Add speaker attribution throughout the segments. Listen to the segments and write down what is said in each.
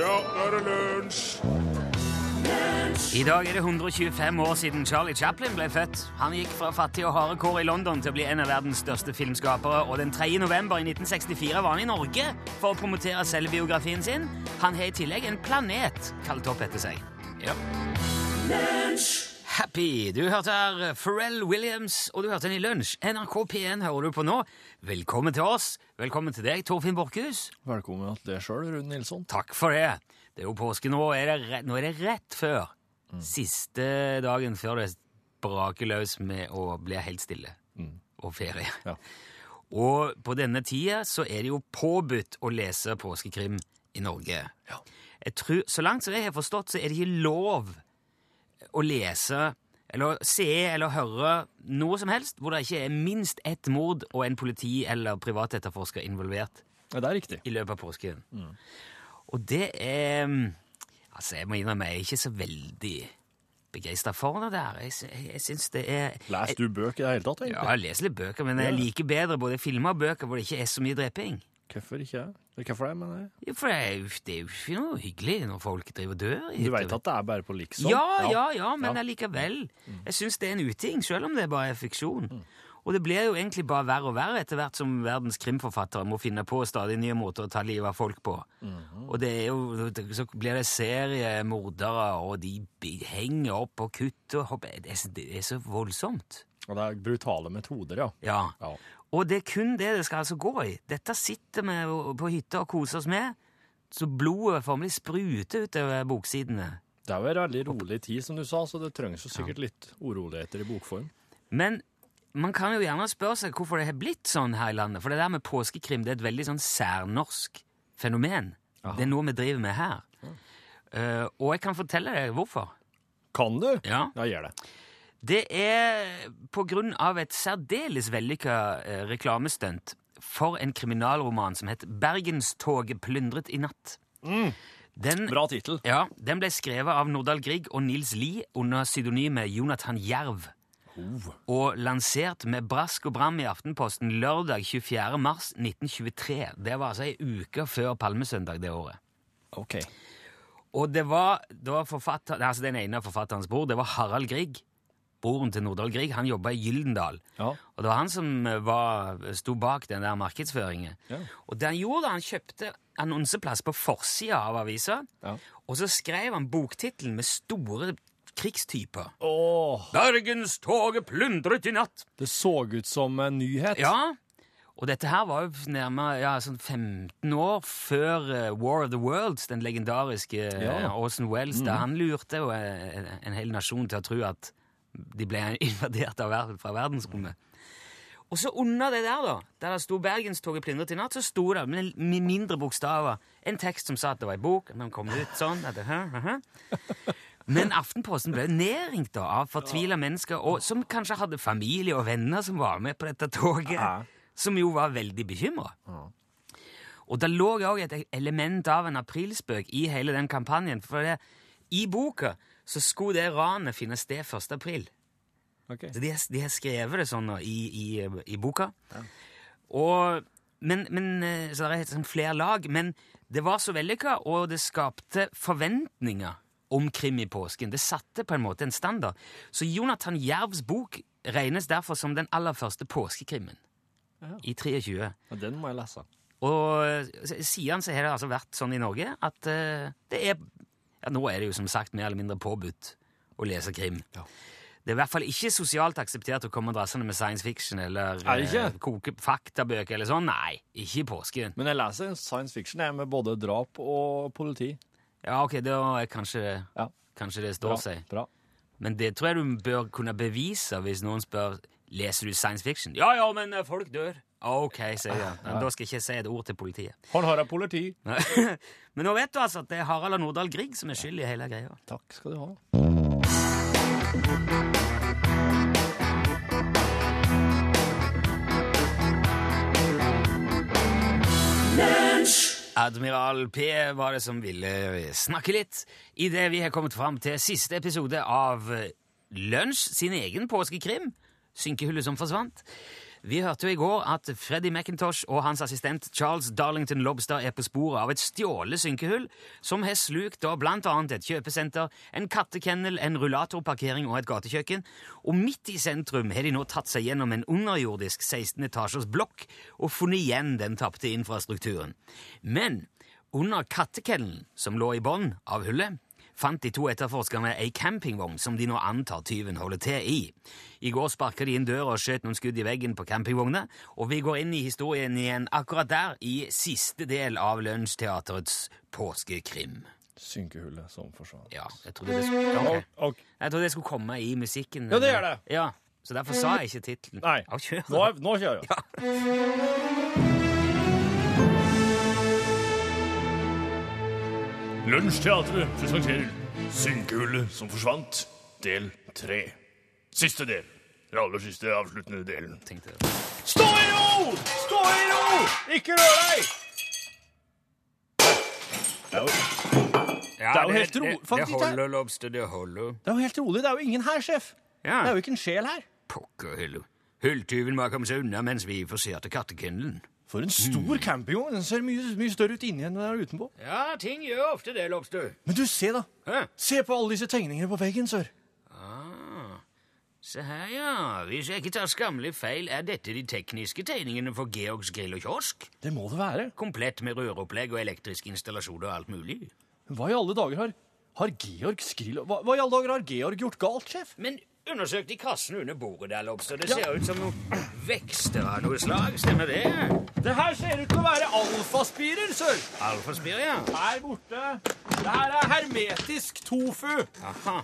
Speaker 1: Ja, nå er det lunsj!
Speaker 2: I dag er det 125 år siden Charlie Chaplin ble født. Han gikk fra fattige og harde kår i London til å bli en av verdens største filmskapere, og den 3. november i 1964 var han i Norge for å promotere selvbiografien sin. Han har i tillegg en planet kalt opp etter seg. Ja. Happy! Du hørte her Pharrell Williams, og du hørte den i lunsj. NRK P1 hører du på nå. Velkommen til oss. Velkommen til deg, Torfinn Borchhus.
Speaker 3: Velkommen til deg sjøl, Rune Nilsson.
Speaker 2: Takk for det. Det er jo påske nå. og Er det rett, nå er det rett før. Siste dagen før det braker løs med å bli helt stille. Og ferie.
Speaker 3: Ja.
Speaker 2: Og på denne tida så er det jo påbudt å lese påskekrim i Norge. Jeg tror, så langt som jeg har forstått, så er det ikke lov å lese eller se eller høre noe som helst hvor det ikke er minst ett mord og en politi- eller privatetterforsker involvert
Speaker 3: Ja, det er riktig.
Speaker 2: i løpet av påsken. Og det er Altså, jeg må innrømme, jeg er ikke så veldig begeistra for det der. Jeg, sy- jeg syns det er
Speaker 3: Les du bøker i det hele tatt,
Speaker 2: Ja,
Speaker 3: egentlig?
Speaker 2: jeg leser litt bøker, men jeg liker bedre både filmer og bøker hvor det ikke er så mye dreping.
Speaker 3: Hvorfor ikke? Eller Hvorfor det, mener jeg?
Speaker 2: Jo, For det er jo, det er jo ikke noe hyggelig når folk driver og dør. i
Speaker 3: Du
Speaker 2: hytter.
Speaker 3: veit at det er bare på liksom?
Speaker 2: Ja, ja, ja, men
Speaker 3: Ja.
Speaker 2: allikevel. Mm. Jeg syns det er en uting, selv om det bare er fiksjon. Og det blir jo egentlig bare verre og verre etter hvert som verdens krimforfattere må finne på stadig nye måter å ta livet av folk på. Og det er jo, så blir det seriemordere, og de bi- henger opp og kutter og hopper. Det er, det er så voldsomt.
Speaker 3: Og det er brutale metoder, ja.
Speaker 2: Ja.
Speaker 3: Ja.
Speaker 2: Og det er kun det det skal altså gå i. Dette sitter vi jo på hytta og koser oss med, så blodet formelig spruter utover boksidene.
Speaker 3: Det er jo en veldig rolig tid, som du sa, så det trengs jo sikkert litt uroligheter i bokform.
Speaker 2: Men man kan jo gjerne spørre seg hvorfor det har blitt sånn her i landet. For det der med påskekrim det er et veldig sånn særnorsk fenomen. Det er noe vi driver med her. Eh, og jeg kan fortelle deg hvorfor.
Speaker 3: Kan du?
Speaker 2: Ja.
Speaker 3: Ja, gjør det.
Speaker 2: Det er på grunn av et særdeles vellykka eh, reklamestunt for en kriminalroman som het 'Bergenstoget plyndret i natt'. Den,
Speaker 3: Bra tittel.
Speaker 2: ja, den ble skrevet av Nordahl Grieg og Nils Lie under pseudonymet Jonathan Jerv.
Speaker 3: Oh,
Speaker 2: og lansert med brask og bram i Aftenposten lørdag 24. mars 1923. Det var altså ei uke før Palmesøndag det året.
Speaker 3: Ok.
Speaker 2: Og det var, det var forfatter, altså den ene av forfatterens bror, det var Harald Grieg. Broren til Nordahl Grieg. Han jobba i Gyldendal.
Speaker 3: Ja.
Speaker 2: Og det var han som eh, var, sto bak den der markedsføringen.
Speaker 3: Ja.
Speaker 2: Og det han gjorde, han kjøpte annonseplass på forsida av avisa,
Speaker 3: Ja.
Speaker 2: og så skrev han boktittelen med store krigstyper.
Speaker 3: Åh,
Speaker 2: Bergenstoget plyndret i natt!
Speaker 3: det så ut som en nyhet.
Speaker 2: Ja, og dette her var jo nærmere ja, sånn 15 år før eh, War of the Worlds, den legendariske eh,
Speaker 3: Ja.
Speaker 2: Orson Welles, der han lurte jo eh, en, en hel nasjon til å tro at de ble invadert av verden, fra verdensrommet. Og så under det der, da, der det sto Bergenstoget plyndret i natt, så sto det med med mindre bokstaver en tekst som sa at det var ei bok, men den kom ut sånn at det, hæ, hæ, hæ. Men Aftenposten ble jo nedringt da, av fortvila mennesker og, som kanskje hadde familie og venner som var med på dette toget,
Speaker 3: Ja.
Speaker 2: som jo var veldig bekymra. Og det lå òg et element av en aprilspøk i hele den kampanjen. For det, i boka så skulle det ranet finne sted 1. april.
Speaker 3: Ok.
Speaker 2: Så de, har- de har skrevet det sånn nå i, i, i boka. Og, men, men, eh, så det er sånn flere lag. Men det var så vellykka, og det skapte forventninger om krim i påsken. Det satte på en måte en standard. Så Jonathan Jervs bok regnes derfor som den aller første påskekrimmen. I 23.
Speaker 3: Ja, Den må jeg lese.
Speaker 2: Og eh, s- siden så har det altså vært sånn i Norge at eh, det er ja, Nå er det jo som sagt mer eller mindre påbudt å lese krim.
Speaker 3: Ja.
Speaker 2: Det er i hvert fall ikke sosialt akseptert å komme drassende med science fiction eller
Speaker 3: Er det ikke?
Speaker 2: eh, koke faktabøker eller sånn. Nei, ikke i påsken.
Speaker 3: Men jeg leser science fiction jeg, med både drap og politi.
Speaker 2: Ja, ok, da er kanskje,
Speaker 3: Ja.
Speaker 2: kanskje det står
Speaker 3: Bra.
Speaker 2: seg.
Speaker 3: Bra.
Speaker 2: Men det tror jeg du bør kunne bevise hvis noen spør leser du science fiction. Ja, ja, men eh, folk dør. Ok, sier
Speaker 3: Ah,
Speaker 2: jeg. Men da skal jeg ikke si et ord til politiet.
Speaker 3: Han har et politi.
Speaker 2: Men nå vet du altså at det er Harald og Nordahl Grieg som er skyld i hele greia.
Speaker 3: Takk skal du ha.
Speaker 2: Admiral P var det som ville snakke litt idet vi har kommet fram til siste episode av Lunsj sin egen påskekrim, Synkehullet som forsvant. Vi hørte jo i går at Freddy McIntosh og hans assistent Charles Darlington Lobster er på sporet av et stjålet synkehull som har slukt da blant annet et kjøpesenter, en kattekennel, en rullatorparkering og et gatekjøkken. Og midt i sentrum har de nå tatt seg gjennom en underjordisk 16 etasjers blokk og funnet igjen den tapte infrastrukturen. Men under kattekennelen som lå i bånn av hullet, fant de to etterforskerne ei campingvogn som de nå antar tyven holder til i. I går sparka de inn døra og skjøt noen skudd i veggen på campingvogna, og vi går inn i historien igjen akkurat der, i siste del av Lunsjteaterets påskekrim.
Speaker 3: Synkehullet som forsvant.
Speaker 2: Ja, jeg trodde det skulle, ok.
Speaker 3: Og- og-
Speaker 2: jeg trodde det skulle komme i musikken.
Speaker 3: Ja, det gjør det.
Speaker 2: Ja, så derfor sa jeg ikke tittelen.
Speaker 3: Nei,
Speaker 2: Ja, kjør.
Speaker 3: nå, er- nå kjører vi.
Speaker 1: Lunsjteatret presenterer Synkehullet som forsvant, del tre. Siste del. Den aller siste avsluttende delen.
Speaker 2: Tenkte jeg.
Speaker 3: Stå i ro! Stå i ro! Ikke rør deg! Det er jo,
Speaker 2: Ja,
Speaker 3: Det er jo helt ro-
Speaker 2: det, det
Speaker 3: faktisk, det er-
Speaker 2: holder, Lobster, det holder.
Speaker 3: det er jo helt rolig. Det er jo ingen her, sjef.
Speaker 2: Ja.
Speaker 3: Det er jo ikke en sjel her.
Speaker 2: Pokker heller. Hulltyven må ha kommet seg unna mens vi forserte kattekennelen.
Speaker 3: For en stor campingvogn. Den ser mye, mye større ut inni enn den er utenpå.
Speaker 2: Ja, ting gjør ofte det, Lobster.
Speaker 3: Men du, se da.
Speaker 2: Hæ?
Speaker 3: Se på alle disse tegningene på veggen, sør.
Speaker 2: Ah, se her, ja. Hvis jeg ikke tar skammelig feil, er dette de tekniske tegningene for Georgs grill og kiosk.
Speaker 3: Det må det være.
Speaker 2: Komplett med røropplegg og elektriske installasjoner og alt mulig.
Speaker 3: Hva i alle dager har, har Georg Skrill... Hva, hva i alle dager har Georg gjort galt, sjef?
Speaker 2: Men undersøk de kassene under bordet der, Lobster. Det
Speaker 3: Ja.
Speaker 2: ser ut som noen vekster av noe slag. Stemmer det?
Speaker 3: Det her ser ut til å være alfaspirer, sør.
Speaker 2: Alfaspir, ja.
Speaker 3: Her borte. Det her er hermetisk tofu.
Speaker 2: Aha.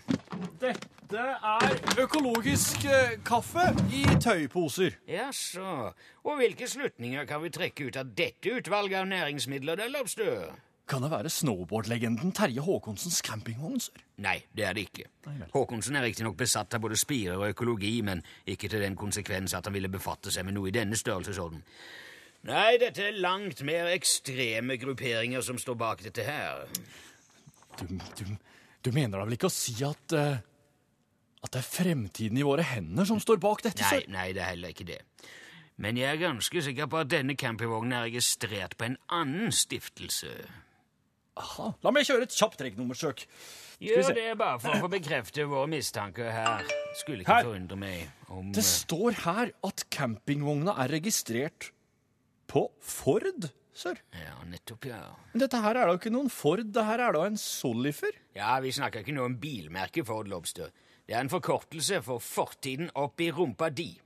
Speaker 3: Dette er økologisk eh, kaffe i tøyposer.
Speaker 2: Jaså. Og hvilke slutninger kan vi trekke ut av dette utvalget av næringsmidler, da, Lobster?
Speaker 3: Kan det være snowboardlegenden Terje Håkonsens campingvogn, sør?
Speaker 2: Nei, det er det ikke.
Speaker 3: Nei vel.
Speaker 2: Håkonsen er riktignok besatt av både spirer og økologi, men ikke til den konsekvens at han ville befatte seg med noe i denne størrelsesorden. Nei, dette er langt mer ekstreme grupperinger som står bak dette her.
Speaker 3: Du, du, du mener da vel ikke å si at eh, At det er fremtiden i våre hender som står bak dette,
Speaker 2: Nei,
Speaker 3: sør?
Speaker 2: nei, det er heller ikke det. Men jeg er ganske sikker på at denne campingvognen er registrert på en annen stiftelse.
Speaker 3: Aha. La meg kjøre et kjapt treknummersøk. vi
Speaker 2: Gjør
Speaker 3: se.
Speaker 2: det bare for å få bekrefte våre mistanker her. Skulle ikke
Speaker 3: Her.
Speaker 2: forundre meg om
Speaker 3: Det står her at campingvogna er registrert på Ford, sør.
Speaker 2: eh, Ja, nettopp, ja.
Speaker 3: Men dette her er da ikke noen Ford, det her er da en Solifer.
Speaker 2: Ja, vi snakker ikke noe om bilmerket Ford Lobster. Det er en forkortelse for fortiden opp i rumpa di.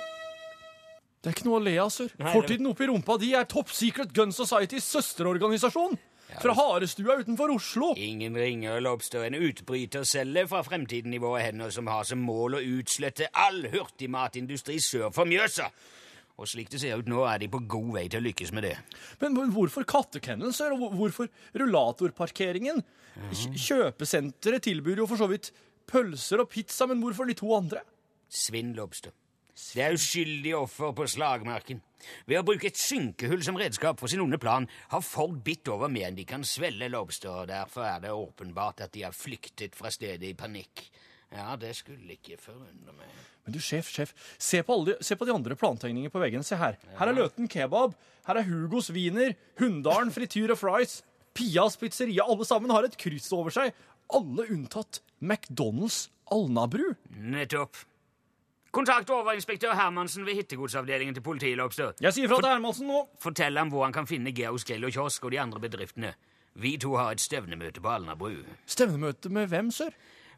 Speaker 3: Det er ikke noe å le av, sør.
Speaker 2: Nei,
Speaker 3: Fortiden oppi rumpa di er Top Secret Gun Societys søsterorganisasjon. Fra Harestua utenfor Oslo.
Speaker 2: Ingen ringer Lobster, en utbrytercelle fra fremtiden i våre hender som har som mål å utslette all hurtigmatindustri sør for Mjøsa. Og slik det ser ut nå, er de på god vei til å lykkes med det.
Speaker 3: Men hvor- hvorfor kattekennelen, sør? Og hvor- hvorfor rullatorparkeringen? Kj- Kjøpesenteret tilbyr jo for så vidt pølser og pizza, men hvorfor de to andre?
Speaker 2: Svinn Lobster. Det er uskyldige offer på slagmarken. Ved å bruke et synkehull som redskap for sin onde plan har Ford bitt over mer enn de kan svelle Lobster, og derfor er det åpenbart at de har flyktet fra stedet i panikk. Ja, det skulle ikke forundre meg.
Speaker 3: Men du, sjef, sjef, se på, alle de, se på de andre plantegningene på veggen. Se her. Her er Løten kebab, her er Hugos wiener, Hunndalen frityr og fries, Pias pizzeria. Alle sammen har et kryss over seg. Alle unntatt McDonald's Alnabru.
Speaker 2: Nettopp. Kontakt overinspektør Hermansen ved hittegodsavdelingen til politiet, Lobster.
Speaker 3: Jeg sier fra til Hermansen nå.
Speaker 2: Fortell ham hvor han kan finne Georgs grill og kiosk og de andre bedriftene. Vi to har et stevnemøte på Alnabru.
Speaker 3: Stevnemøte med hvem, sør?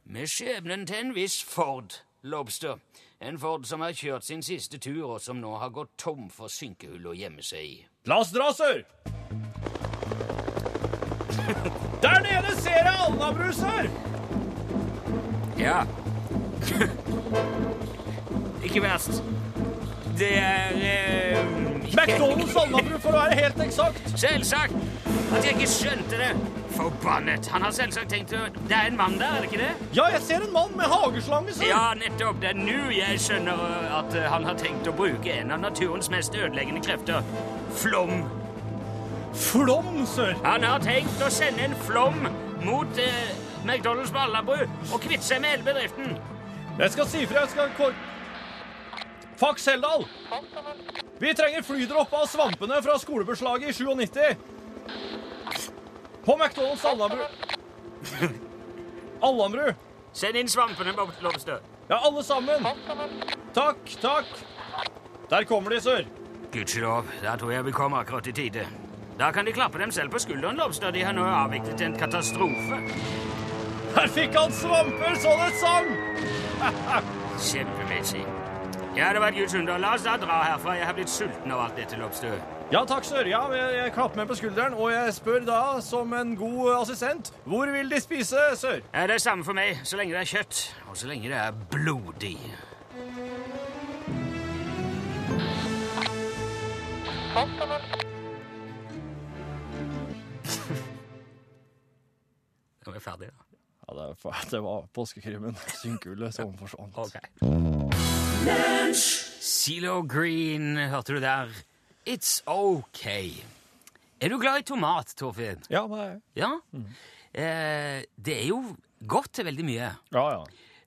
Speaker 2: Med skjebnen til en viss Ford, Lobster. En Ford som har kjørt sin siste tur, og som nå har gått tom for synkehull å gjemme seg i.
Speaker 3: La oss dra, sør! Der nede ser jeg Alnabru, sør!
Speaker 2: Ja. Ikke verst. Det er eh,
Speaker 3: McDonald's Alnabru, for å være helt eksakt.
Speaker 2: Selvsagt! At jeg ikke skjønte det! Forbannet! Han har selvsagt tenkt å Det er en mann der, er det ikke det?
Speaker 3: Ja, jeg ser en mann med hageslange, sør.
Speaker 2: Ja, nettopp. Det er nå jeg skjønner øh, at øh, han har tenkt å bruke en av naturens mest ødeleggende krefter. Flom.
Speaker 3: Flom, sør.
Speaker 2: Han har tenkt å sende en flom mot eh, McDonald's på Alnabru og kvitte seg med hele bedriften.
Speaker 3: Jeg skal si fra. Jeg skal kor... Fuck Seldal! Vi trenger flydropp av svampene fra skolebeslaget i 97. På McDonald's Alnabru. Alnabru.
Speaker 2: Send inn svampene, Bob Lobster.
Speaker 3: Ja, alle sammen. Takk, takk. Der kommer de, sør.
Speaker 2: Gudskjelov, der tror jeg vi kommer akkurat i tide. Da kan de klappe dem selv på skulderen, Lobster. De har nå avviklet en katastrofe.
Speaker 3: Der fikk han svamper så det sang!
Speaker 2: Kjempemessig. Ja, det var et guds under. La oss da dra herfra. Jeg har blitt sulten av alt dette, Lobster.
Speaker 3: Ja takk, sør. Ja, jeg, jeg klapper meg på skulderen, og jeg spør da, som en god assistent, hvor vil de spise, sør?
Speaker 2: Ja, Eh, det er samme for meg, så lenge det er kjøtt, og så lenge det er blodig. Da var jeg ferdig, da.
Speaker 3: Ja, det, er fa- det var påskekrimmen. Synkehullet som forsvant.
Speaker 2: Silo Green, hørte du der. It's ok. Er du glad i tomat, Torfinn?
Speaker 3: Ja, det-
Speaker 2: Ja?
Speaker 3: Mm.
Speaker 2: Eh, det er jo godt til veldig mye,
Speaker 3: ja, ja.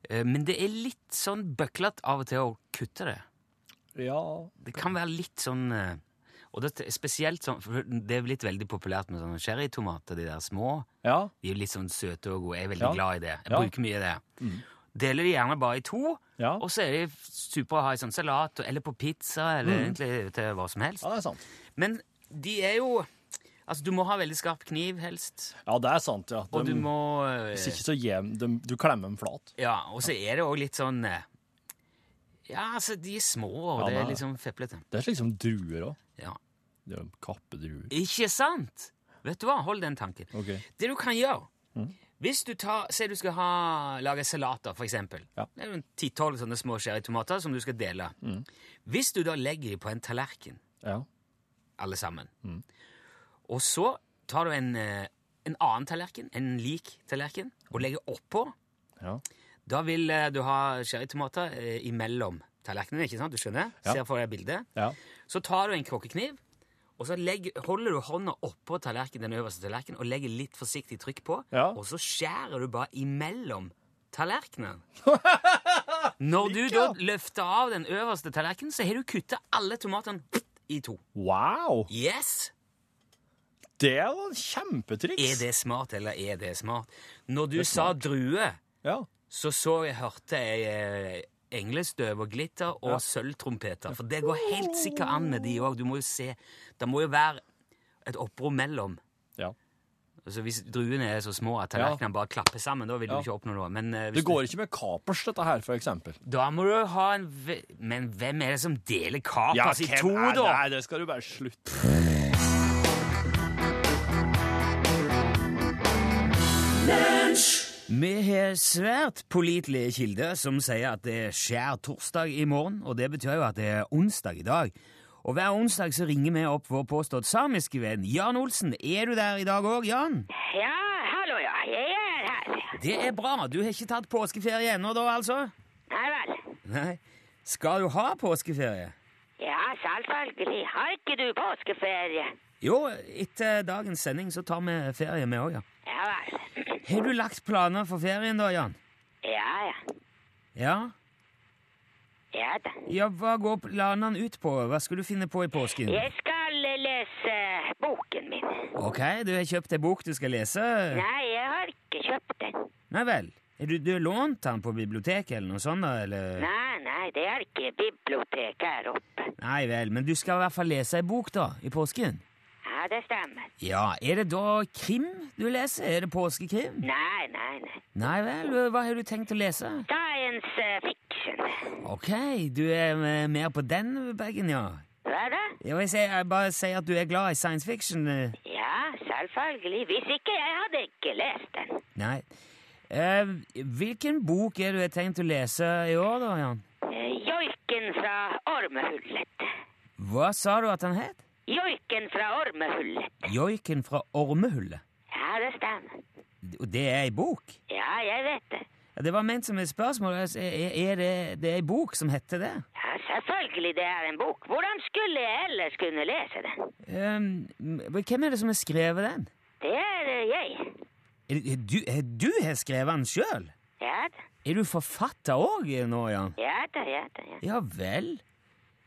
Speaker 2: eh, men det er litt sånn bøklet av og til å kutte det.
Speaker 3: Ja,
Speaker 2: Det kan være litt sånn eh, Og det er spesielt sånn for Det er blitt veldig populært med sånne cherrytomater, de der små.
Speaker 3: ja.
Speaker 2: De er litt sånn søte og gode. Jeg er veldig
Speaker 3: Ja.
Speaker 2: glad i det. Jeg
Speaker 3: Ja. Mm.
Speaker 2: bruker mye det. Deler de gjerne bare i to,
Speaker 3: Ja.
Speaker 2: og så er de supre å ha i sånn salat og- eller på pizza eller
Speaker 3: Mm.
Speaker 2: egentlig til hva som helst.
Speaker 3: Ja, det er sant.
Speaker 2: Men de er jo Altså, du må ha veldig skarp kniv, helst.
Speaker 3: Ja, det er sant, ja. Dem-
Speaker 2: Og du må
Speaker 3: Hvis
Speaker 2: eh,
Speaker 3: ikke så jevn, dem- du klemmer dem flat.
Speaker 2: Ja, og så er det òg litt sånn eh, Ja, altså, de er små, og
Speaker 3: Ja,
Speaker 2: det
Speaker 3: det
Speaker 2: er
Speaker 3: er-
Speaker 2: liksom feplete.
Speaker 3: Det er slik som druer òg.
Speaker 2: Ja.
Speaker 3: Det er Kappedruer.
Speaker 2: Ikke sant? Vet du hva? Hold den tanken.
Speaker 3: Ok.
Speaker 2: Det du kan gjøre
Speaker 3: Mm.
Speaker 2: Hvis du tar, sier du skal ha, lage salater, for eksempel.
Speaker 3: Ja. Mm.
Speaker 2: Det er jo en 10-12 sånne små cherrytomater som du skal dele. Hvis du da legger dem på en tallerken,
Speaker 3: Ja.
Speaker 2: alle sammen,
Speaker 3: Mm.
Speaker 2: og så tar du en, eh, en annen tallerken, en lik tallerken, og legger oppå,
Speaker 3: Ja.
Speaker 2: da vil eh, du ha cherrytomater eh, imellom tallerkenene, ikke sant? Du skjønner?
Speaker 3: Ja.
Speaker 2: Ser for deg bildet.
Speaker 3: ja.
Speaker 2: Så tar du en krokkekniv, og så legger, holder du hånda oppå tallerken, den øverste tallerkenen og legger litt forsiktig trykk på,
Speaker 3: Ja.
Speaker 2: og så skjærer du bare imellom tallerkenen. Når du da løfter av den øverste tallerkenen, så har du kutta alle tomatene i to.
Speaker 3: Wow!
Speaker 2: Yes!
Speaker 3: Det var en kjempetriks!
Speaker 2: Er det smart, eller er det smart? Når du sa drue,
Speaker 3: Ja.
Speaker 2: så så jeg hørte jeg eh, englestøv og glitter og sølvtrompeter. For det går helt sikkert an med de òg. Du må jo se Det må jo være et opprør mellom.
Speaker 3: ja.
Speaker 2: Altså hvis druene er så små at tallerkenene bare klapper sammen, da vil du
Speaker 3: Ja.
Speaker 2: ikke oppnå noe. Men, eh, hvis
Speaker 3: Det går ikke med kapers, dette her, for eksempel.
Speaker 2: du, da må du ha en ve Men hvem er det som deler kapas i to,
Speaker 3: nei,
Speaker 2: da?
Speaker 3: Nei, det skal du bare slutte
Speaker 2: Vi har svært pålitelige kilder som sier at det er skjær torsdag i morgen, og det betyr jo at det er onsdag i dag. Og hver onsdag så ringer vi opp vår påstått samiske venn Jan Olsen. Er du der i dag òg, Jan?
Speaker 4: Ja, hallo, ja. Jeg er her.
Speaker 2: Det er bra. Du har ikke tatt påskeferie ennå, da, altså?
Speaker 4: Nei vel.
Speaker 2: Nei. Skal du ha påskeferie?
Speaker 4: Ja, selvfølgelig. Har ikke du påskeferie?
Speaker 2: Jo, etter dagens sending så tar vi ferie, vi òg, ja.
Speaker 4: Ja vel.
Speaker 2: Har du lagt planer for ferien da, Jan?
Speaker 4: Ja, ja.
Speaker 2: Ja?
Speaker 4: Ja da.
Speaker 2: Ja, Hva går planene ut på? Hva skal du finne på i påsken?
Speaker 4: Jeg skal eh, lese boken min.
Speaker 2: Ok, du har kjøpt ei bok du skal lese?
Speaker 4: Nei, jeg har ikke kjøpt den.
Speaker 2: Nei vel. Har du, du har lånt den på biblioteket eller noe sånt? da, eller?
Speaker 4: Nei, nei, det er ikke biblioteket her oppe.
Speaker 2: Nei vel, men du skal i hvert fall lese ei bok, da, i påsken?
Speaker 4: Ja, det stemmer.
Speaker 2: Ja, er det da krim du leser? Er det påskekrim?
Speaker 4: Nei, nei, nei.
Speaker 2: Nei vel, hva har du tenkt å lese?
Speaker 4: Science eh, fiction.
Speaker 2: Ok, du er eh, mer på den bagen, ja?
Speaker 4: Hva da?
Speaker 2: Ja, Jeg, sier, jeg bare sier at du er glad i science fiction. eh.
Speaker 4: Ja, selvfølgelig. Hvis ikke, jeg hadde ikke lest den.
Speaker 2: Nei. Eh, hvilken bok er det du har tenkt å lese i år, da, Jan?
Speaker 4: Eh, Joiken fra ormehullet.
Speaker 2: Hva sa du at den het?
Speaker 4: Joiken fra ormehullet.
Speaker 2: Joiken fra ormehullet.
Speaker 4: Ja, det stemmer.
Speaker 2: Og det er ei bok?
Speaker 4: Ja, jeg vet det.
Speaker 2: Ja, Det var ment som et spørsmål. altså, Er, er det, det er ei bok som heter det?
Speaker 4: Ja, selvfølgelig det er en bok. Hvordan skulle jeg ellers kunne lese den?
Speaker 2: Ehm, Eh, men hvem er det som har skrevet den?
Speaker 4: Det er eh, jeg.
Speaker 2: Er det- er Du, er du har skrevet den sjøl?
Speaker 4: Ja da,
Speaker 2: Er du forfatter òg nå, Jan?
Speaker 4: ja da, ja da. Ja,
Speaker 2: Ja vel.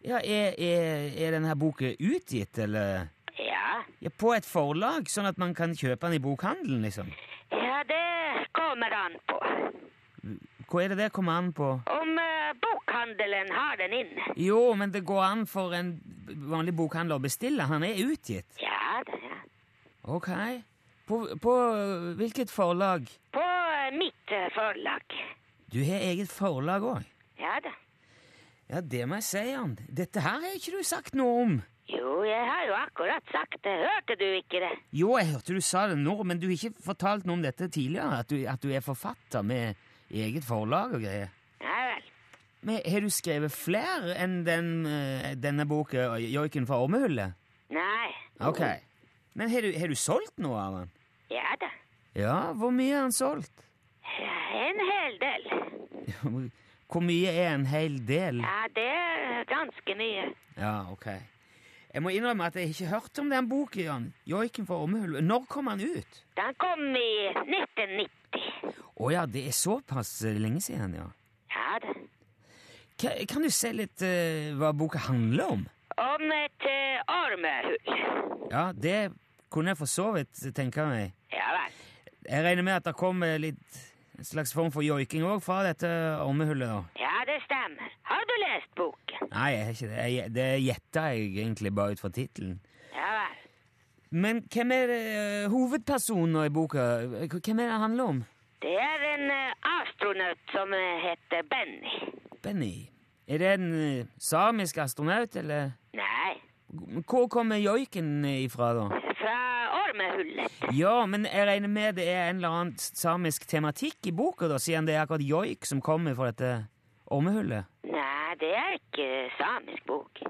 Speaker 2: Ja, er, er, er denne boka utgitt, eller?
Speaker 4: ja.
Speaker 2: Ja, på et forlag, sånn at man kan kjøpe den i bokhandelen, liksom?
Speaker 4: ja det kommer an på.
Speaker 2: Hva er det det kommer an på?
Speaker 4: Om eh, bokhandelen har den inne.
Speaker 2: Jo, men det går an for en vanlig bokhandler å bestille. Han er utgitt.
Speaker 4: Ja da, ja.
Speaker 2: Ok. På, på hvilket forlag?
Speaker 4: På eh, mitt eh, forlag.
Speaker 2: Du har eget forlag òg.
Speaker 4: Ja da.
Speaker 2: Ja, det må jeg si, Jan. Dette her har ikke du sagt noe om.
Speaker 4: Jo, jeg har jo akkurat sagt det. Hørte du ikke det?
Speaker 2: Jo, jeg hørte du sa det nå, men du har ikke fortalt noe om dette tidligere. At du, at du er forfatter med eget forlag og greier.
Speaker 4: Ja vel.
Speaker 2: Men har du skrevet flere enn den, eh, denne boka, 'Joiken fra ormehullet'?
Speaker 4: Nei.
Speaker 2: Ok. Men har du, har du solgt noe av den?
Speaker 4: Ja da.
Speaker 2: Ja, hvor mye er den solgt?
Speaker 4: Ja, En hel del.
Speaker 2: Hvor mye er en hel del?
Speaker 4: Ja, det er ganske mye.
Speaker 2: Ja, ok. Jeg må innrømme at jeg ikke har hørt om den boken, Jan. Joiken fra Ormehul. Når kom den ut?
Speaker 4: Den kom i 1990.
Speaker 2: Å ja, det er såpass eh, lenge siden, ja.
Speaker 4: Ja da.
Speaker 2: Ka- Kan du si litt eh, hva boka handler om?
Speaker 4: Om et eh, ormehull.
Speaker 2: Ja, det kunne jeg for så vidt eh, tenke meg.
Speaker 4: Ja vel.
Speaker 2: Jeg regner med at det kom eh, litt en slags form for joiking òg fra dette ormehullet, da.
Speaker 4: Ja, det stemmer. Har du lest boken?
Speaker 2: Nei, jeg har ikke det. Jeg, det gjetta jeg egentlig bare ut fra tittelen.
Speaker 4: Ja vel.
Speaker 2: Men hvem er eh, hovedpersonen i boka? Hvem er det det handler om?
Speaker 4: Det er en eh, astronaut som eh, heter Benny.
Speaker 2: Benny, er det en eh, samisk astronaut, eller
Speaker 4: Nei,
Speaker 2: Hvor kommer joiken ifra, da?
Speaker 4: fra ormehullet.
Speaker 2: Ja, men jeg regner med det er en eller annen samisk tematikk i boka, da, siden det er akkurat joik som kommer fra dette ormehullet?
Speaker 4: Nei, det er ikke samisk bok.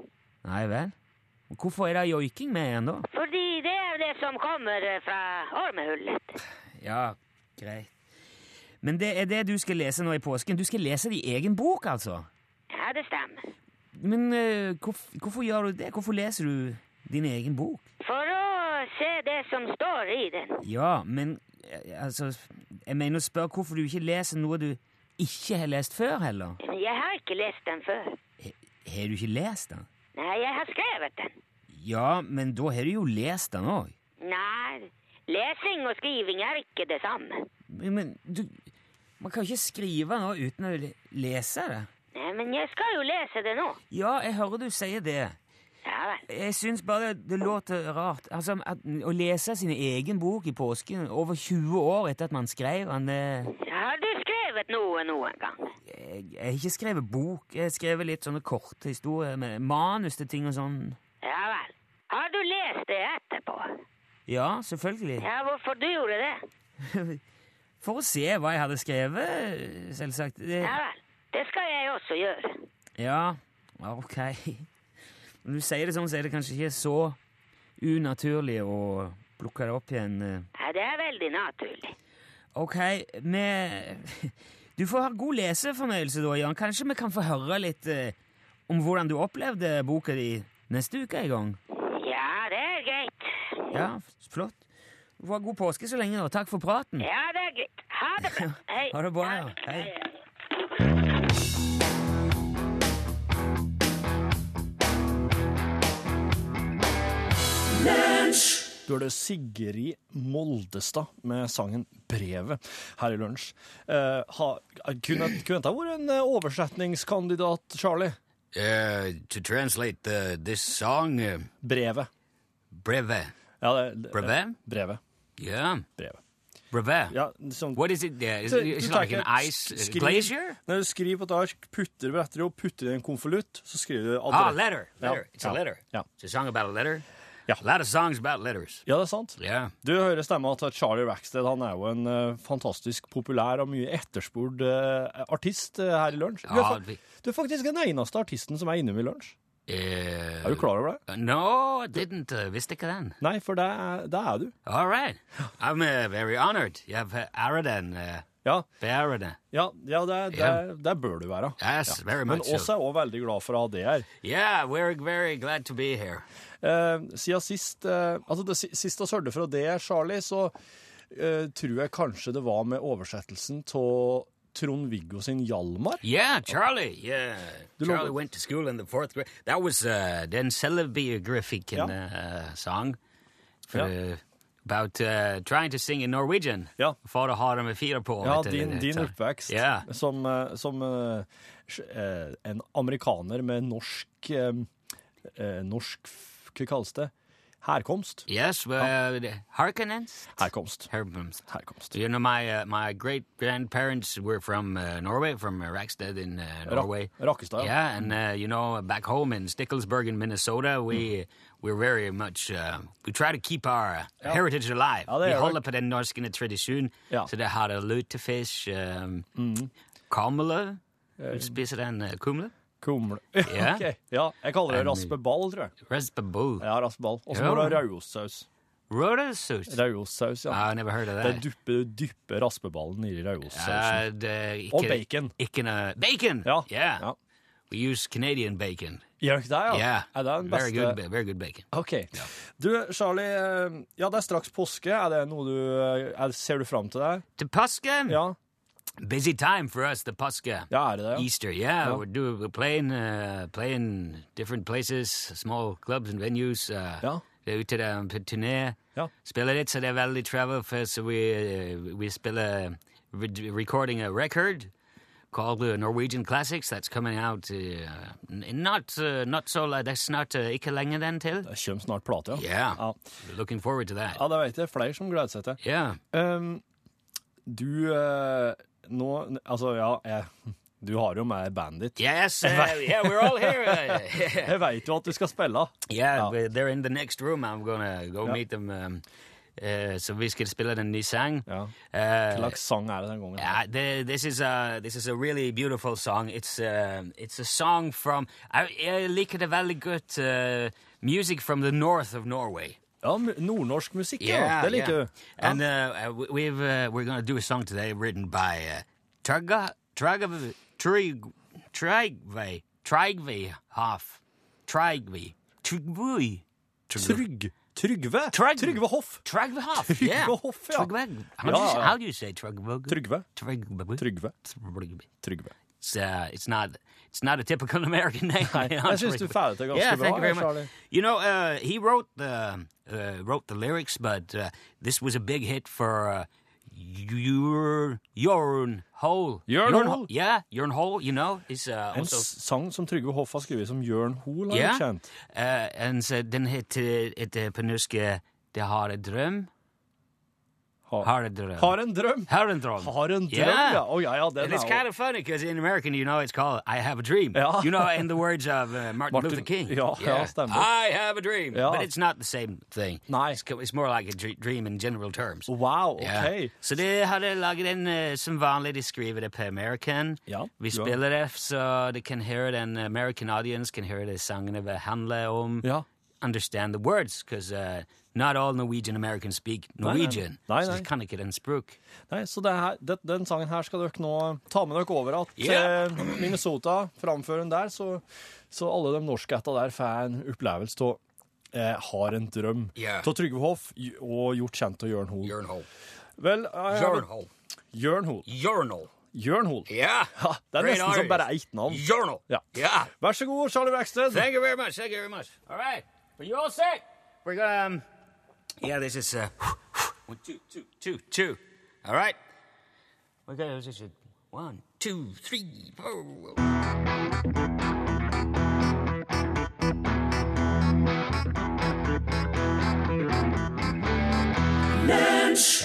Speaker 2: Nei vel? Hvorfor er det joiking med igjen, da?
Speaker 4: Fordi det er det som kommer eh, fra ormehullet.
Speaker 2: Ja, greit. Men det er det du skal lese nå i påsken? Du skal lese din egen bok, altså?
Speaker 4: Ja, det stemmer.
Speaker 2: Men eh, hvorf- hvorfor gjør du det? Hvorfor leser du din egen bok?
Speaker 4: For å se det som står i den.
Speaker 2: Ja, men eh, altså Jeg mener å spørre hvorfor du ikke leser noe du ikke har lest før, heller.
Speaker 4: Jeg har ikke lest den før.
Speaker 2: He- Har du ikke lest den?
Speaker 4: Nei, jeg har skrevet den.
Speaker 2: Ja, men da har du jo lest den òg.
Speaker 4: Nei, lesing og skriving er ikke det samme.
Speaker 2: Men men du Man kan ikke skrive noe uten å le- lese det.
Speaker 4: Nei, men jeg skal jo lese det nå.
Speaker 2: Ja, jeg hører du sier det.
Speaker 4: Ja vel.
Speaker 2: Jeg syns bare det, det låter rart. Altså, at, Å lese sin egen bok i påsken, over 20 år etter at man skrev den det,
Speaker 4: Har du skrevet noe noen gang?
Speaker 2: jeg, jeg har ikke skrevet bok. Jeg har skrevet litt sånne korte historier med manus til ting og sånn.
Speaker 4: Ja vel. Har du lest det etterpå?
Speaker 2: Ja, selvfølgelig.
Speaker 4: Ja, hvorfor du gjorde det?
Speaker 2: For å se hva jeg hadde skrevet, selvsagt. Det-
Speaker 4: Ja vel. Det skal jeg også gjøre.
Speaker 2: Ja, ok. Når du sier det sånn, så er det kanskje ikke så unaturlig å plukke det opp igjen. eh.
Speaker 4: Ja, det er veldig naturlig.
Speaker 2: Ok, vi Du får ha god lesefornøyelse da, Jan. Kanskje vi kan få høre litt eh, om hvordan du opplevde boka di neste uke en gang?
Speaker 4: Ja, det er greit.
Speaker 2: Ja, flott. Du får ha god påske så lenge, da. Takk for praten.
Speaker 4: Ja, det er greit. Ha det bra. Hei.
Speaker 2: Ha det bra, ja. Hei.
Speaker 3: Du hørte Sigrid Moldestad med sangen 'Brevet' her i lunsj. Eh, ha, kunne kunne dette vært en eh, oversetningskandidat, Charlie?
Speaker 5: Uh, to translate the, this song, uh,
Speaker 3: Brevet.
Speaker 5: Breve.
Speaker 3: Ja, det- det-
Speaker 5: Brevet?
Speaker 3: Brevet.
Speaker 5: Yeah,
Speaker 3: Brevet.
Speaker 5: Breve.
Speaker 3: Ja, som,
Speaker 5: What is it there? Is
Speaker 3: Du-
Speaker 5: it,
Speaker 3: du
Speaker 5: is it
Speaker 3: tar
Speaker 5: like an
Speaker 3: ikke-
Speaker 5: ice uh,
Speaker 3: skriv-
Speaker 5: glacier?
Speaker 3: Når du skriver på et ark, putter det etter og putter det i en konvolutt, så skriver du
Speaker 5: Ah,
Speaker 3: adre-
Speaker 5: letter.
Speaker 3: Ja,
Speaker 5: letter. It's
Speaker 3: ja,
Speaker 5: a letter.
Speaker 3: ja.
Speaker 5: It's a song about a letter.
Speaker 3: Ja.
Speaker 5: A lot of songs about letters.
Speaker 3: Ja, det er sant.
Speaker 5: Yeah.
Speaker 3: Du hører stemma til Charlie Rackstead. Han er jo en eh, fantastisk populær og mye etterspurt eh, artist eh, her i lunsj. Du, er
Speaker 5: Ja,
Speaker 3: fak-
Speaker 5: vi-
Speaker 3: du er faktisk den eneste artisten som er innom i lunsj.
Speaker 5: Uh,
Speaker 3: Er du klar over det?
Speaker 5: No, I didn't. Uh, visste ikke den.
Speaker 3: Nei, for det er, det er du.
Speaker 5: All right. I'm uh, very honored. You have uh, Aradan. Uh,
Speaker 3: Ja,
Speaker 5: Aradan.
Speaker 3: ja, ja, det, er- det,
Speaker 5: Ja.
Speaker 3: er- det bør du være.
Speaker 5: Yes, very
Speaker 3: Men
Speaker 5: much
Speaker 3: oss
Speaker 5: so.
Speaker 3: er òg veldig glad for å ha det her.
Speaker 5: Yeah, we're very glad to be here.
Speaker 3: Eh, siden sist eh, Altså, det si- sist vi hørte fra det, Charlie, så eh, tror jeg kanskje det var med oversettelsen av Trond-Viggo sin Hjalmar.
Speaker 2: Yeah, Charlie. Yeah,
Speaker 3: Du
Speaker 2: Charlie
Speaker 3: lover.
Speaker 2: went to school in the fourth grade. That was uh, den selvbiographic
Speaker 3: Ja.
Speaker 2: uh, song for,
Speaker 3: Ja.
Speaker 2: uh, about uh, trying to sing in Norwegian.
Speaker 3: Ja.
Speaker 2: For å ha det med fire på.
Speaker 3: Ja,
Speaker 2: vet du,
Speaker 3: din,
Speaker 2: det-
Speaker 3: din
Speaker 2: så-
Speaker 3: oppvekst
Speaker 2: Ja.
Speaker 3: som, eh, som eh, sj- eh, en amerikaner med norsk eh, eh, Norsk f- Hva kalles det? Herkomst.
Speaker 2: Yes, well, Harkonnens.
Speaker 3: Herkomst.
Speaker 2: Herkonnens.
Speaker 3: Herkomst.
Speaker 2: You know, my uh, my great grandparents were from uh, Norway, from uh, Rackstead in uh,
Speaker 3: Ra-
Speaker 2: Norway.
Speaker 3: Rakkestad, ja.
Speaker 2: Yeah, and uh, you know, back home in Sticklesburg in Minnesota, we we're very much uh, we try to keep our heritage alive.
Speaker 3: Ja, det
Speaker 2: we
Speaker 3: gjør
Speaker 2: holder
Speaker 3: dere.
Speaker 2: på den norske tradisjonen.
Speaker 3: Ja.
Speaker 2: Så det har det lutefisk, um, kumle. Du spiser den uh, kumle?
Speaker 3: Kumle.
Speaker 2: Ja.
Speaker 3: Ok. ja. Jeg kaller det
Speaker 2: En-
Speaker 3: raspeball, tror jeg.
Speaker 2: Raspaboo.
Speaker 3: Ja, raspeball. Og så
Speaker 2: Ja. Ah,
Speaker 3: må du ha raudostsaus.
Speaker 2: Rødrødsaus.
Speaker 3: Raudostsaus, ja.
Speaker 2: I never heard of
Speaker 3: Det
Speaker 2: that.
Speaker 3: er dyppe, dyppe raspeballen i raudostsausen.
Speaker 2: Uh, det-
Speaker 3: Og
Speaker 2: ikke-
Speaker 3: bacon.
Speaker 2: Ikke noe bacon!
Speaker 3: Ja.
Speaker 2: Yeah.
Speaker 3: ja.
Speaker 2: We use Canadian bacon.
Speaker 3: Gjør dere det, ja?
Speaker 2: Yeah.
Speaker 3: Er det den
Speaker 2: very,
Speaker 3: beste?
Speaker 2: good, ba- very good bacon.
Speaker 3: Ok. Du, Charlie, eh, ja, det er straks påske. Er det noe du eh, er, Ser du fram til det?
Speaker 2: To Pascha?
Speaker 3: Ja,
Speaker 2: Busy time for us, the Pascha.
Speaker 3: ja er det det?
Speaker 2: Easter, yeah.
Speaker 3: Yeah.
Speaker 2: We're, do, we're playing, uh, playing different places, small clubs and venues. Uh,
Speaker 3: Ja.
Speaker 2: Det er ute der på turné.
Speaker 3: Ja.
Speaker 2: Spiller litt, så det er veldig travel, for så vi, eh, vi spiller uh, re- recording a record called uh, Norwegian Classics. That's coming out uh, n- not, uh, not so, li- that's not, uh, ikke lenge den til.
Speaker 3: Det kommer snart plate, ja.
Speaker 2: Yeah.
Speaker 3: Ja,
Speaker 2: Looking forward to that.
Speaker 3: ja det vet jeg. Flere som gleder seg til.
Speaker 2: Yeah.
Speaker 3: Um, du eh, Nå Altså, ja, jeg, du har jo med bandit.
Speaker 2: Yes, uh, yeah, we're all here. Uh,
Speaker 3: Jeg veit jo at du skal spille.
Speaker 2: yeah, but they're in the next room. I'm gonna go meet them. Um, uh, så vi skal spille den nye sang.
Speaker 3: Ja.
Speaker 2: Uh,
Speaker 3: Hva slags sang er det den gangen?
Speaker 2: yeah, Uh, the, this is a this is a really beautiful song. It's um it's a song from I, I like det veldig godt uh, music from the north of Norway.
Speaker 3: Ja, m- Nordnorsk musikk, ja. det liker du. Ja.
Speaker 2: And uh, we- we've uh, we're gonna do a song today written by uh, Traga Traga Trig Trigve Trigve Hoff Trigve Trigve
Speaker 3: Trygg. Trygve.
Speaker 2: Trygg.
Speaker 3: Trygve Hoff.
Speaker 2: Trigve Hoff.
Speaker 3: Trygve
Speaker 2: Yeah.
Speaker 3: Hoff, ja.
Speaker 2: Trygve. How, do
Speaker 3: Ja,
Speaker 2: you,
Speaker 3: ja.
Speaker 2: how do you say Trigve?
Speaker 3: Trygve.
Speaker 2: Trigve.
Speaker 3: Trygve.
Speaker 2: Trigve.
Speaker 3: Trygve.
Speaker 2: It's uh, it's not it's not a typical American name.
Speaker 3: Jeg syns du får det til ganske
Speaker 2: yeah,
Speaker 3: bra,
Speaker 2: thank you very much.
Speaker 3: Charlie.
Speaker 2: You know, uh, he wrote the uh, wrote the lyrics, but uh, this was a big hit for uh, your your hole.
Speaker 3: Jørn
Speaker 2: Jørn
Speaker 3: Hole?
Speaker 2: Ho- Yeah, your hole. You know, is uh,
Speaker 3: En
Speaker 2: also
Speaker 3: s- sang som Trygve Hoff har skrevet, som Jørn Hoel har yeah.
Speaker 2: yeah,
Speaker 3: kjent.
Speaker 2: Uh, and so den heter heter på norsk "Det har en drøm".
Speaker 3: Har,
Speaker 2: Har en drøm.
Speaker 3: har en drøm!
Speaker 2: Har en drøm.
Speaker 3: Har en drøm,
Speaker 2: Yeah.
Speaker 3: ja. Å, ja, ja, den
Speaker 2: And it's
Speaker 3: er
Speaker 2: kind of funny because in American, you know, it's called "I Have a Dream."
Speaker 3: Yeah.
Speaker 2: You know, in the words of uh, Martin,
Speaker 3: Martin-
Speaker 2: Luther King.
Speaker 3: yeah, yeah, stand by.
Speaker 2: I have a dream,
Speaker 3: Yeah.
Speaker 2: but it's not the same thing.
Speaker 3: Nei.
Speaker 2: It's, co- it's more like a dr- dream in general terms.
Speaker 3: Wow, OK.
Speaker 2: Yeah. Så det har de laget en eh, som vanlig. De skriver det på American.
Speaker 3: Ja,
Speaker 2: Vi
Speaker 3: ja.
Speaker 2: spiller det, så de kan høre den eh, American audience kan høre det sangene hva handler om.
Speaker 3: Ja.
Speaker 2: Understand the words, because uh, not all Norwegian Americans speak Norwegian.
Speaker 3: Nei,
Speaker 2: Så
Speaker 3: nei.
Speaker 2: de kan ikke den språk.
Speaker 3: Nei, så det her, det, den sangen her skal dere nå ta med dere over at
Speaker 2: Yeah.
Speaker 3: til Minnesota, framføre den der, så, så alle de norskætta der får en opplevelse av eh, Har en drøm.
Speaker 2: Yeah.
Speaker 3: Av Trygve Hoff j- og gjort kjent av Jørn Hoel.
Speaker 2: Jørn Hole.
Speaker 3: Vel, jeg har-
Speaker 2: Jørn Hole.
Speaker 3: Jørn Hoel.
Speaker 2: Jørn Hole.
Speaker 3: Jørn Hoel.
Speaker 2: Yeah.
Speaker 3: Ja, det er
Speaker 2: Great
Speaker 3: nesten som
Speaker 2: artist.
Speaker 3: bare ett navn.
Speaker 2: Journal.
Speaker 3: Ja.
Speaker 2: Yeah.
Speaker 3: Vær så god, Charlie Braxton.
Speaker 2: Thank you very much. Thank you very much. All right. Are you all set? We're gonna. Um, yeah, this is uh, one, two, two, two, two. All right. We're gonna this is uh, one, two, three, four.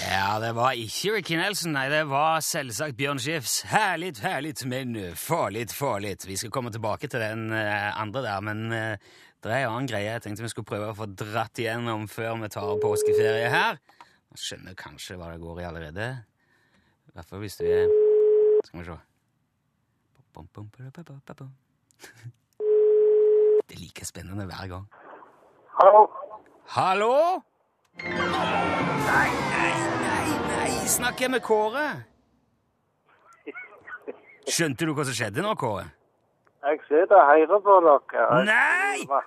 Speaker 2: Ja, det var ikke Ricky Nelson, nei, det var selvsagt Bjørn Skifs. Herlig, herlig, men farlig, farlig. Vi skal komme tilbake til den eh, andre der, men eh, det er en annen greie jeg tenkte vi skulle prøve å få dratt igjennom før vi tar påskeferie her. Jeg skjønner kanskje hva det går i allerede. I hvert fall hvis du er Skal vi se. Bom, bom, bom, bom, bom, bom. Det er like spennende hver gang.
Speaker 6: Hallo?
Speaker 2: Hallo? Nei, nei, nei, nei. Snakker jeg med Kåre? Skjønte du hva som skjedde nå, Kåre?
Speaker 6: Jeg sitter og hører på dere. Jeg-
Speaker 2: Nei!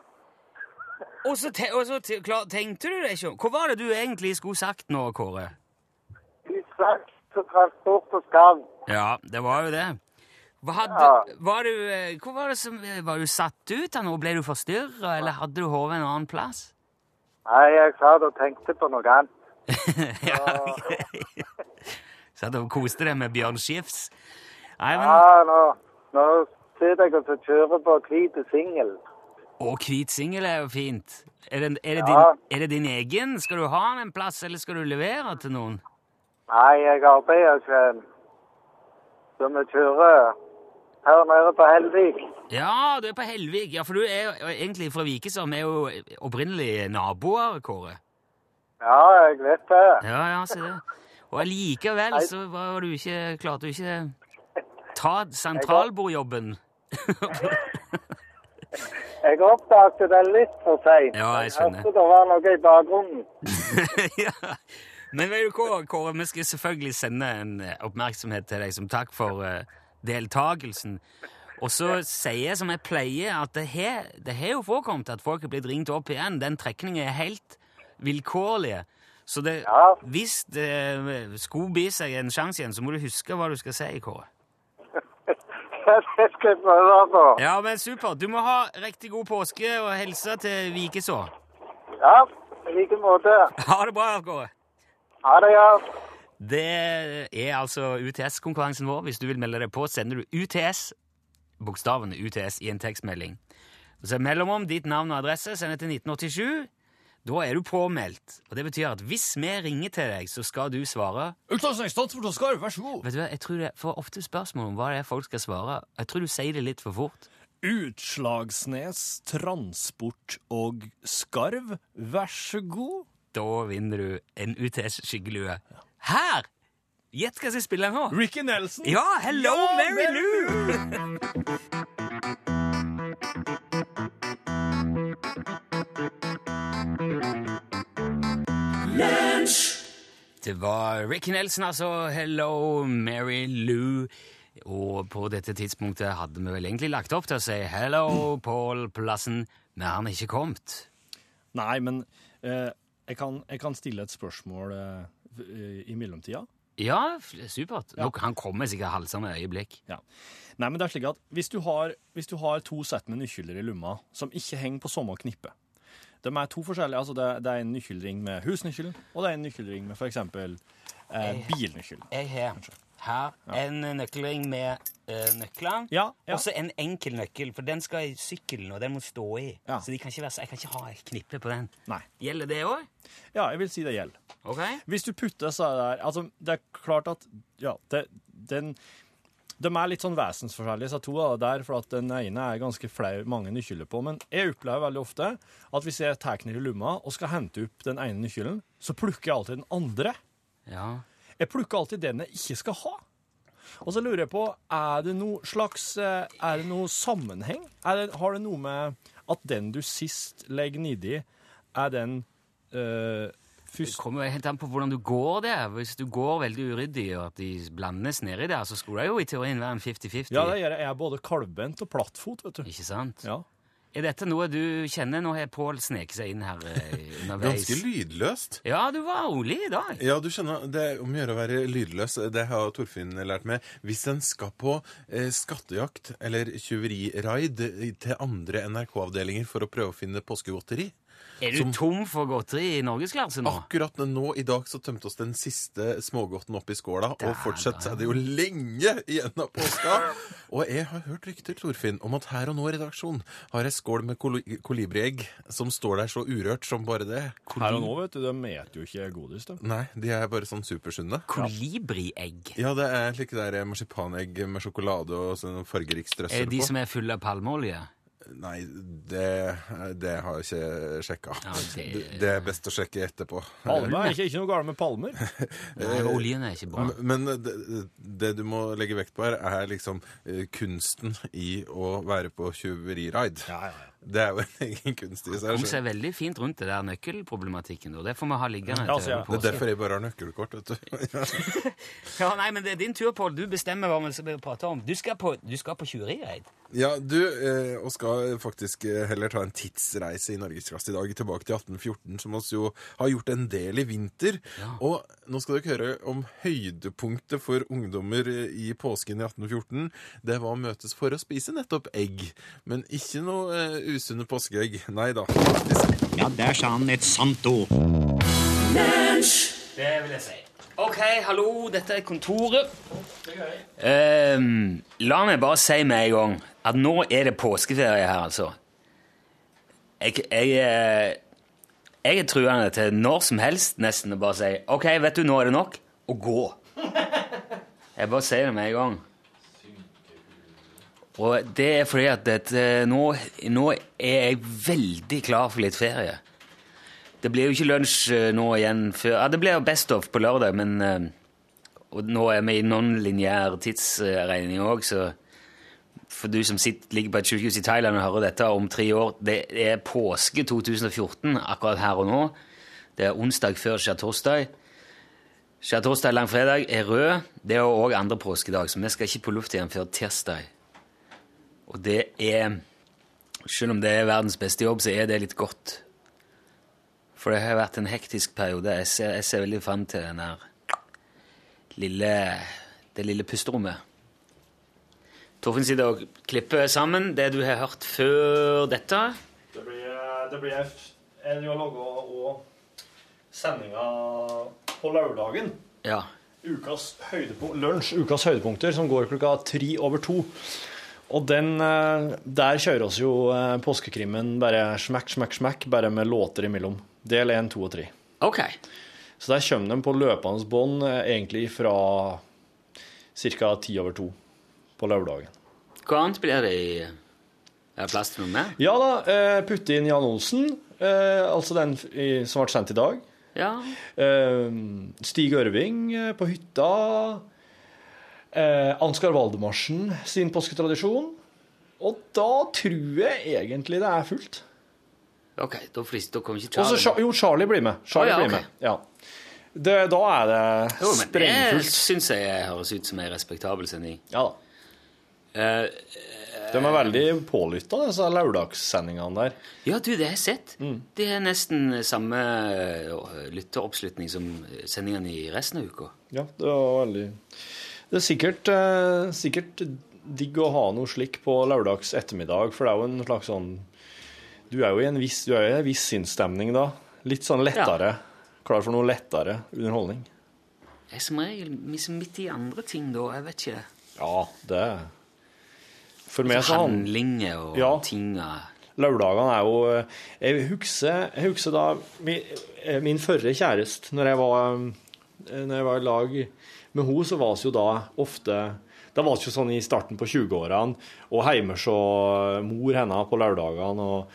Speaker 2: Og så, te og så te klar, tenkte du deg ikke om. Hva var det du egentlig skulle sagt nå, Kåre?
Speaker 6: frakt og transport og skam.
Speaker 2: Ja, det var jo det. Hva hadde,
Speaker 6: Ja.
Speaker 2: var, du, eh, hvor var, det som, eh, var du satt ut av noe? Ble du forstyrra, eller hadde du hodet en annen plass?
Speaker 6: Nei, jeg satt og tenkte på noe annet.
Speaker 2: Ja, ok. Satt og koste deg med Bjørn Skifs? Nei, men,
Speaker 6: Ja, nå, nå sitter jeg og så kjører på hvite singel.
Speaker 2: og hvit singel er jo fint. Er det, er, det
Speaker 6: Ja.
Speaker 2: din, er det din egen? Skal du ha den en plass, eller skal du levere til noen?
Speaker 6: Nei, jeg arbeider ikke. Så vi kjører her nede på Helvik.
Speaker 2: Ja, du er på Helvik. Ja, for du er jo egentlig fra Vike, som er jo opprinnelig naboer, Kåre.
Speaker 6: Ja, jeg vet det.
Speaker 2: Ja, ja, se det. Og allikevel så var du ikke, klarte du ikke ta sentralbordjobben.
Speaker 6: Jeg oppdaget det litt for seint.
Speaker 2: Ja, jeg skjønner.
Speaker 6: hørte det var noe i bakgrunnen.
Speaker 2: ja. Men vet du hva, Kåre, vi skal selvfølgelig sende en eh, oppmerksomhet til deg som takk for eh, deltakelsen. Og så sier jeg som jeg pleier, at det har, det har jo forekommet at folk er blitt ringt opp igjen. Den trekningen er helt vilkårlig. Så det,
Speaker 6: Ja.
Speaker 2: hvis det eh, skulle by seg en sjanse igjen, så må du huske hva du skal si, Kåre.
Speaker 6: det skal jeg prøve på.
Speaker 2: Ja, men supert. Du må ha riktig god påske og helse til Vikeså.
Speaker 6: Ja, i like måte.
Speaker 2: Ha det bra, Kåre.
Speaker 6: Ha det, ja.
Speaker 2: Det er altså UTS-konkurransen vår. Hvis du vil melde deg på, sender du UTS, bokstaven UTS, i en tekstmelding. Så mellomom ditt navn og adresse, send det til 1987. Da er du påmeldt. Og det betyr at hvis vi ringer til deg, så skal du svare
Speaker 1: vær så god.
Speaker 2: Vet du hva, jeg tror det er for ofte spørsmål om hva det er folk skal svare. Jeg tror du sier det litt for fort.
Speaker 3: Utslagsnes, transport og skarv, vær så god.
Speaker 2: Da vinner du en UTS-skyggelue. Her! Gjett hva jeg skal spille nå.
Speaker 3: Ricky Nelson.
Speaker 2: Ja, hello, Mary Lou! Det var Ricky Nelson, altså. Hello, Mary Lou. Og på dette tidspunktet hadde vi vel egentlig lagt opp til å si hello, Pål Plassen, men han er ikke kommet.
Speaker 3: Nei, men eh, jeg, kan, jeg kan stille et spørsmål eh, f- eh, i mellomtida.
Speaker 2: Ja, f- supert. Nå, han kommer sikkert halsende øyeblikk.
Speaker 3: Ja. Nei, men det er slik at hvis du har, hvis du har to sett med nøkkeler i lomma som ikke henger på samme knippe De er to forskjellige. altså Det, det er en nøkkelring med husnøkkelen, og det er en nøkkelring med f.eks. Eh, bilnøkkelen.
Speaker 2: Jeg har her en nøkkelring med eh, nøklene.
Speaker 3: Ja, ja.
Speaker 2: Også en enkel nøkkel, for den skal i sykkelen, og den må stå i.
Speaker 3: Ja.
Speaker 2: Så de kan ikke være, så jeg kan ikke ha et knippe på den.
Speaker 3: Nei.
Speaker 2: Gjelder det òg?
Speaker 3: Ja, jeg vil si det gjelder.
Speaker 2: Ok.
Speaker 3: Hvis du putter så er det der Altså, det er klart at Ja, det, den de er litt sånn vesensforskjellige, så to av det der, for at den ene er ganske flau mange nøkkeler på. Men jeg opplever veldig ofte at hvis jeg tar den i lomma og skal hente opp den ene nøkkelen, så plukker jeg alltid den andre.
Speaker 2: Ja.
Speaker 3: Jeg plukker alltid den jeg ikke skal ha. Og så lurer jeg på, er det noe slags eh, Er det noe sammenheng? Er det, har det noe med at den du sist legger nedi, er den eh,
Speaker 2: Det
Speaker 3: først
Speaker 2: kommer jo helt an på hvordan du går der. Hvis du går veldig uryddig, og at de blandes nedi der, så skulle det jo i teorien være en 50-50.
Speaker 3: Ja, det gjør jeg. Jeg er både kalvbent og plattfot, vet du.
Speaker 2: Ikke sant?
Speaker 3: Ja.
Speaker 2: Er dette noe du kjenner? Nå har Pål sneket seg inn her eh, underveis.
Speaker 7: Ganske lydløst.
Speaker 2: Ja, du var rolig i dag.
Speaker 7: Ja, du skjønner, det er om å gjøre å være lydløs. Det har Torfinn lært meg. Hvis en skal på eh, skattejakt eller tyveriraid til andre NRK-avdelinger for å prøve å finne påskegodteri
Speaker 2: Er du
Speaker 7: Som-
Speaker 2: tom for godteri i norgesklasse nå?
Speaker 7: Akkurat nå i dag så tømte oss den siste smågodten opp i skåla, og fortsatt er det jo lenge igjen av påska. Og jeg har hørt rykter, Torfinn, om at her og nå i redaksjonen har ei skål med kol kolibriegg som står der så urørt som bare det.
Speaker 3: Her og nå, vet du, de eter jo ikke godis, de.
Speaker 7: Nei, de er bare sånn supersunne.
Speaker 2: Kolibriegg.
Speaker 7: Ja, det er slike der eh, marsipanegg med sjokolade og sånn fargerik
Speaker 2: Er
Speaker 7: strøssel
Speaker 2: det de
Speaker 7: på.
Speaker 2: som er fulle av palmeolje?
Speaker 7: Nei, det, det har jeg ikke sjekka.
Speaker 2: Ja, det-
Speaker 7: det... det er best å sjekke etterpå.
Speaker 3: Palmer er ikke, ikke noe galt med palmer.
Speaker 2: Nei,
Speaker 3: Eh,
Speaker 2: oljen er ikke bra.
Speaker 7: M- Men det, det du må legge vekt på her, er liksom eh, kunsten i å være på tjuveriraid.
Speaker 3: Ja, ja, ja.
Speaker 7: Det er jo en egen kunst i seg.
Speaker 2: Kom
Speaker 7: selv.
Speaker 2: seg veldig fint rundt det der nøkkelproblematikken. Og det får vi ha liggende
Speaker 3: Ja, altså, ja.
Speaker 7: Det er
Speaker 2: påske.
Speaker 7: derfor jeg bare har nøkkelkort, vet du.
Speaker 2: Ja, nei, men det er din tur, Pål. Du bestemmer hva vi skal prate om. Du skal på, du skal på tjuverireid.
Speaker 7: Ja, du, eh, og skal faktisk eh, heller ta en tidsreise i Norgesklasse i dag, tilbake til 1814, som oss jo har gjort en del i vinter. Og nå skal dere høre om høydepunktet for ungdommer eh, i påsken i 1814. Det var å møtes for å spise nettopp egg, men ikke noe eh, usunne påskeegg. Nei da. faktisk.
Speaker 5: Ja, der sa han et sant ord.
Speaker 2: Det vil jeg si. Ok, hallo, dette er kontoret. Ehm, la meg bare si med en gang at nå er det påskeferie her, altså. Jeg, jeg, eh, jeg er truende til når som helst nesten å bare si Ok, vet du, nå er det nok, og gå. Jeg bare sier det med en gang. Og det er fordi at dette, nå, nå er jeg veldig klar for litt ferie. Det blir jo ikke lunsj eh, nå igjen før Ja, det blir jo Best of på lørdag, men eh, og nå er vi i non-lineær tidsregning òg, så for du som sitter, ligger på et sykehus i Thailand og hører dette om tre år Det er påske 2014 akkurat her og nå. Det er onsdag før skjærtorsdag. Skjærtorsdag langfredag er rød. Det er òg andre påskedag, så vi skal ikke på luft igjen før tirsdag. Og det er Selv om det er verdens beste jobb, så er det litt godt. For det har vært en hektisk periode. Jeg ser, jeg ser veldig fram til den der lille, det lille pusterommet. Torfinn sitter og klipper sammen det du har hørt før dette.
Speaker 3: Det blir, det blir en dialog og sendinga på lørdagen.
Speaker 2: Ja.
Speaker 3: Ukas høydepunkt, lunsj, ukas høydepunkter, som går klokka tre over to. Og den, eh, der kjører oss jo eh, påskekrimmen bare smekk, smekk, smekk, bare med låter imellom. Del én, to og tre.
Speaker 2: Ok.
Speaker 3: Så der kommer de på løpende bånd eh, egentlig fra ca. ti over to på lørdagen.
Speaker 2: Hva annet blir det i Er det plass til noe mer?
Speaker 3: Ja da, eh, putte inn Jan Olsen, eh, altså den f- i, som ble sendt i dag.
Speaker 2: Ja.
Speaker 3: Eh, Stig Ørving eh, på hytta. Eh, Ansgar Valdemarsen sin påsketradisjon. Og da tror jeg egentlig det er fullt.
Speaker 2: Ok, da, flis, da kommer ikke
Speaker 3: Og så Cha-
Speaker 2: Charlie.
Speaker 3: jo, Charlie blir med. Charlie
Speaker 2: Å, ja,
Speaker 3: blir
Speaker 2: ok.
Speaker 3: med. Ja. Det, da er
Speaker 2: Jo,
Speaker 3: det
Speaker 2: men det
Speaker 3: sprengfullt.
Speaker 2: syns jeg høres ut som ei respektabel sending.
Speaker 3: Ja da.
Speaker 2: Eh,
Speaker 3: De er veldig pålytta, disse lørdagssendingene der.
Speaker 2: Ja, du, det har jeg sett.
Speaker 3: Mm.
Speaker 2: Det er nesten samme eh, lytteroppslutning som sendingene i resten av uka.
Speaker 3: Ja, det var veldig Det er sikkert, eh, sikkert digg å ha noe slik på lørdags ettermiddag, for det er jo en slags sånn Du er jo i en viss, du er jo i en viss sinnsstemning da. Litt sånn lettere. Klar for noe lettere underholdning.
Speaker 2: Jeg er som regel mis- midt i andre ting da, jeg vet ikke.
Speaker 3: Ja, det For meg så han
Speaker 2: Handlinger og
Speaker 3: Ja.
Speaker 2: tinga.
Speaker 3: Lørdagene er jo eh, Jeg husker, jeg husker da min, eh, min førre kjæreste, når jeg var, eh, når jeg var i lag med henne, så var vi jo da ofte Da var det jo sånn i starten på 20-årene, og hjemme så mor henne på lørdagene og,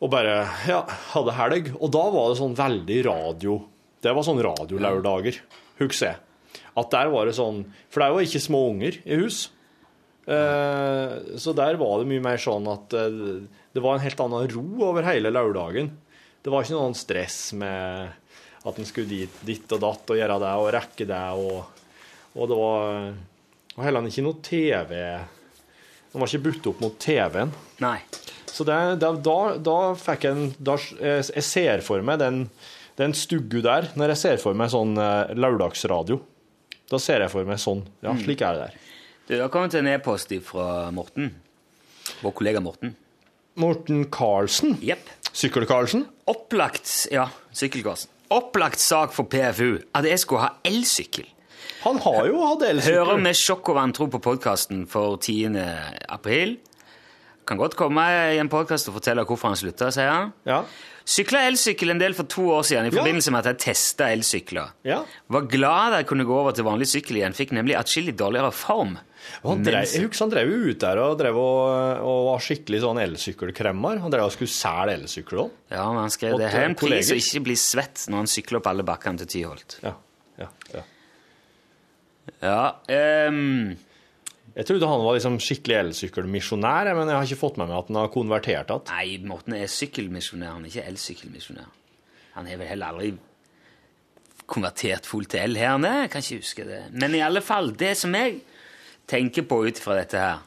Speaker 3: og bare ja, hadde helg. Og da var det sånn veldig radio. Det var sånn radiolørdager, husker jeg. At der var det sånn For det er jo ikke små unger i hus. Eh, så der var det mye mer sånn at eh, det var en helt annen ro over hele lørdagen. Det var ikke noe sånn stress med at en skulle dit, dit og datt og gjøre det og rekke det. Og, og det var og heller ikke noe TV Den var ikke budt opp mot TV-en.
Speaker 2: Nei.
Speaker 3: Så det, det, da, da fikk jeg en da, Jeg jeg ser for meg den, den stuggu der, når jeg ser for meg sånn eh, lørdagsradio. Da ser jeg for meg sånn. Ja, slik er det der.
Speaker 2: Du, det har kommet en e-post fra Morten. Vår kollega Morten.
Speaker 3: Morten Karlsen.
Speaker 2: Jepp.
Speaker 3: Sykkel-Karlsen?
Speaker 2: Opplagt Ja, sykkelgassen. Opplagt sak for PFU at jeg skulle ha elsykkel.
Speaker 3: Han har jo hatt
Speaker 2: Hører
Speaker 3: elsykkel.
Speaker 2: med sjokk og vantro på podkasten for 10. april. Kan godt komme i en podkast og fortelle hvorfor han slutta, sier han.
Speaker 3: Ja.
Speaker 2: Sykla elsykkel en del for to år siden i
Speaker 3: Ja.
Speaker 2: forbindelse med at jeg testa elsykler.
Speaker 3: Ja.
Speaker 2: Var glad da jeg kunne gå over til vanlig sykkel igjen. Fikk nemlig atskillig dårligere form.
Speaker 3: Og Han drev, jeg husker han drev jo ut der og, drev og, og var skikkelig sånn elsykkelkremmer. Han drev og skulle selge elsykkel òg.
Speaker 2: Ja, men han skrev
Speaker 3: Og
Speaker 2: det
Speaker 3: til
Speaker 2: her er en pris
Speaker 3: kolleger.
Speaker 2: å ikke bli svett når han sykler opp alle bakkene til Tyholt.
Speaker 3: Ja. Ja. Ja.
Speaker 2: Ja, ehm,
Speaker 3: Jeg trodde han var liksom skikkelig elsykkelmisjonær, jeg, men jeg har ikke fått med meg at han har konvertert igjen.
Speaker 2: Nei, Morten er sykkelmisjonær, han er ikke elsykkelmisjonær. Han har vel heller aldri konvertert fullt til el her, nei, jeg kan ikke huske det. Men i alle fall, det som jeg tenker på ut fra dette her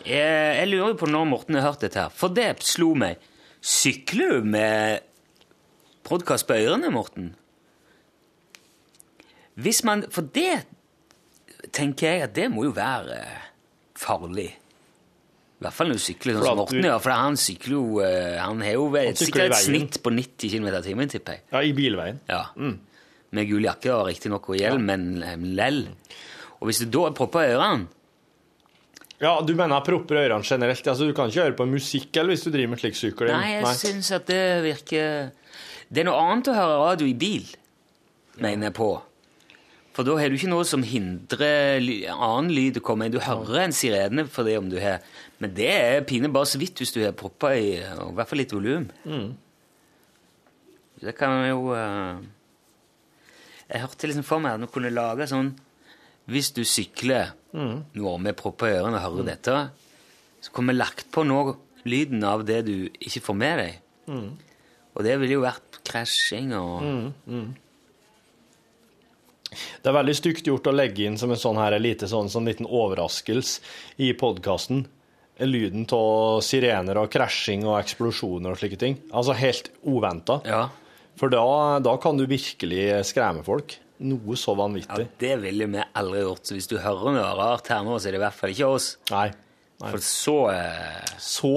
Speaker 2: jeg, jeg lurer jo på når Morten har hørt dette her, for det slo meg. Sykler du med podkast på ørene, Morten? Hvis man For det tenker jeg at det må jo være eh, farlig. I hvert fall når du sykler sånn
Speaker 3: For at
Speaker 2: som Morten
Speaker 3: du-
Speaker 2: gjør, for han sykler jo eh, Han har jo
Speaker 3: sykler
Speaker 2: vel,
Speaker 3: i
Speaker 2: sikkert et
Speaker 3: veien.
Speaker 2: snitt på 90 km i timen, tipper jeg.
Speaker 3: Ja, I bilveien.
Speaker 2: Ja. Med gul jakke og riktignok og hjelm, men eh, lell. Og hvis du da propper ørene
Speaker 3: Ja, Du mener jeg propper ørene generelt? Altså, Du kan ikke høre på musikk eller hvis du driver med slik sykling?
Speaker 2: Nei, jeg syns at det virker Det er noe annet å høre radio i bil, mener jeg på. For da har du ikke noe som hindrer ly- annen lyd å komme inn. Du hører en sirene for det om du har Men det er pinlig bare så vidt hvis du har proppa i og i hvert fall litt volum. Det kan jo eh, Jeg hørte liksom for meg at man kunne lage sånn Hvis du sykler nå med propper i ørene og hører dette så kommer lagt på nå lyden av det du ikke får med deg.
Speaker 3: Mm.
Speaker 2: Og det ville jo vært krasjing og
Speaker 3: Det er veldig stygt gjort å legge inn som en sånn her lite sånn, sånn liten overraskelse i podkasten. Lyden av sirener og krasjing og eksplosjoner og slike ting. Altså helt uventa.
Speaker 2: Ja.
Speaker 3: For da, da kan du virkelig skremme folk. Noe så
Speaker 2: ja,
Speaker 3: vanvittig.
Speaker 2: det ville vi aldri gjort. Så hvis du hører noe rart her nå, så er det i hvert fall ikke oss.
Speaker 3: Nei.
Speaker 2: For så eh,
Speaker 3: Så,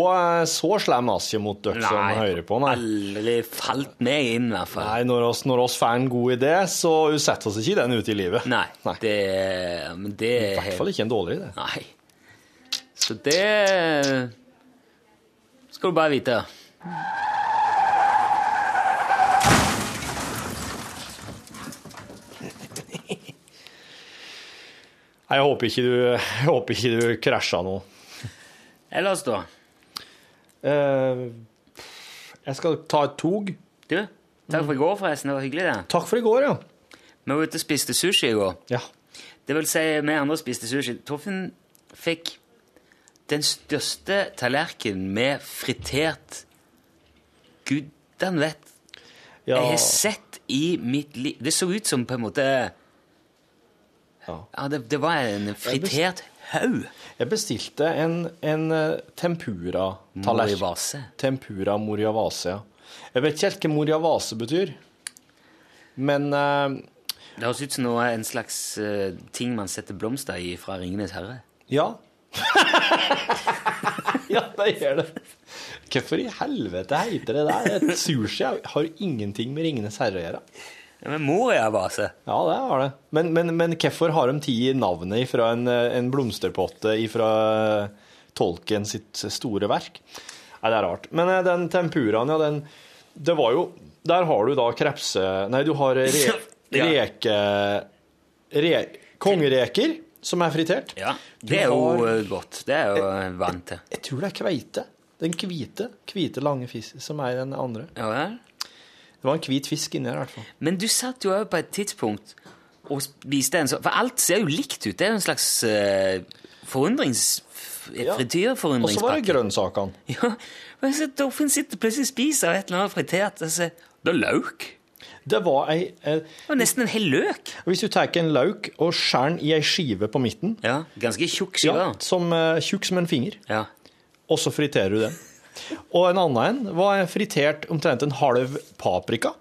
Speaker 3: så slem er vi ikke mot dere som hører på, nei.
Speaker 2: aldri falt meg inn, i hvert fall.
Speaker 3: Nei, når oss, når oss får en god idé, så setter oss ikke den ut i livet.
Speaker 2: Nei,
Speaker 3: Nei.
Speaker 2: det Men det
Speaker 3: I hvert fall ikke en dårlig idé.
Speaker 2: Nei. Så det eh, skal du bare vite.
Speaker 3: Nei, Jeg håper ikke du, jeg håper ikke du krasja nå.
Speaker 2: Ellers, da?
Speaker 3: Eh, jeg skal ta et tog.
Speaker 2: Du, takk for i går, forresten. Det var hyggelig, det.
Speaker 3: Takk for i går, ja.
Speaker 2: Vi var ute og spiste sushi i går.
Speaker 3: Ja.
Speaker 2: Det vil si, vi andre spiste sushi. Torfinn fikk den største tallerkenen med fritert Gudan vet
Speaker 3: ja.
Speaker 2: jeg har sett i mitt liv. Det så ut som på en måte
Speaker 3: Ja.
Speaker 2: Ja, det, det var en fritert haug.
Speaker 3: Jeg bestilte en, en eh, tempura-tallerken.
Speaker 2: Morivase.
Speaker 3: Tempura moriavase, ja. Jeg vet ikke helt hva moriavase betyr, men eh,
Speaker 2: Det høres ut som noe, en slags eh, ting man setter blomster i fra Ringenes herre.
Speaker 3: ja. ja, det gjør det. Hvorfor i helvete heter det der? Et sushi er- har ingenting med Ringenes herre å gjøre.
Speaker 2: Ja, men Moria-vase.
Speaker 3: Ja, det har det. Men, men, men hvorfor har de tid i navnet fra en, eh, en blomsterpotte fra Tolkien sitt store verk? Nei, det er rart. Men eh, den tempuraen, ja, den Det var jo Der har du da krepse... Nei, du har re,
Speaker 2: Ja.
Speaker 3: reke... Re, kongereker, som er fritert.
Speaker 2: Ja,
Speaker 3: Du
Speaker 2: det er jo
Speaker 3: har-
Speaker 2: eh, godt. Det er jo jeg vant til.
Speaker 3: Jeg tror det er kveite. Den hvite, hvite lange fisk som er den andre.
Speaker 2: Ja, vel?
Speaker 3: Det var en hvit fisk inni her, i hvert fall.
Speaker 2: Men du satt jo også på et tidspunkt og spiste en sånn For alt ser jo likt ut. Det er jo en slags uh, forundrings... eh,
Speaker 3: Ja. Og så var det
Speaker 2: Frityrforundringspakke.
Speaker 3: grønnsakene.
Speaker 2: Ja, men så Torfinn sitter plutselig og spiser av et eller annet fritert. og så- det er løk.
Speaker 3: Det var ei, ei
Speaker 2: Det var nesten en hel løk.
Speaker 3: Hvis du tar en lauk og skjærer den i ei skive på midten,
Speaker 2: Ja, Ganske tjukk
Speaker 3: ja,
Speaker 2: skive.
Speaker 3: som eh, tjukk som en finger,
Speaker 2: Ja.
Speaker 3: og så friterer du den. Og en annen en var en fritert omtrent en halv paprika.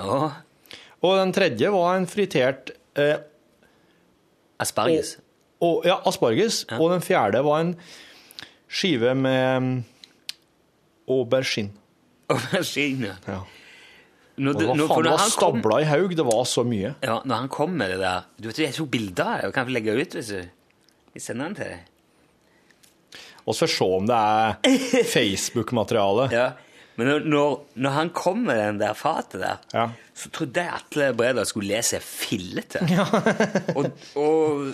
Speaker 2: Og
Speaker 3: Og den tredje var en fritert eh,
Speaker 2: asparges.
Speaker 3: og, ja, asparges. Og den fjerde var en skive med mm, aubergine.
Speaker 2: Aubergine.
Speaker 3: Ja.
Speaker 2: Når,
Speaker 3: Og
Speaker 2: du-
Speaker 3: hva
Speaker 2: når, for
Speaker 3: faen, det
Speaker 2: når,
Speaker 3: var
Speaker 2: han kom,
Speaker 3: stabla i haug, det var så mye.
Speaker 2: ja, når han kom med det der Du vet, Jeg tok bilder av det. Jeg kan vi legge ut hvis du Jeg sender den til deg.
Speaker 3: Og så får vi se om det er Facebook-materiale.
Speaker 2: Ja, men når, når, når han kom med den der fatet der,
Speaker 3: Ja.
Speaker 2: så trodde jeg Atle Breda skulle lese fillete. og, og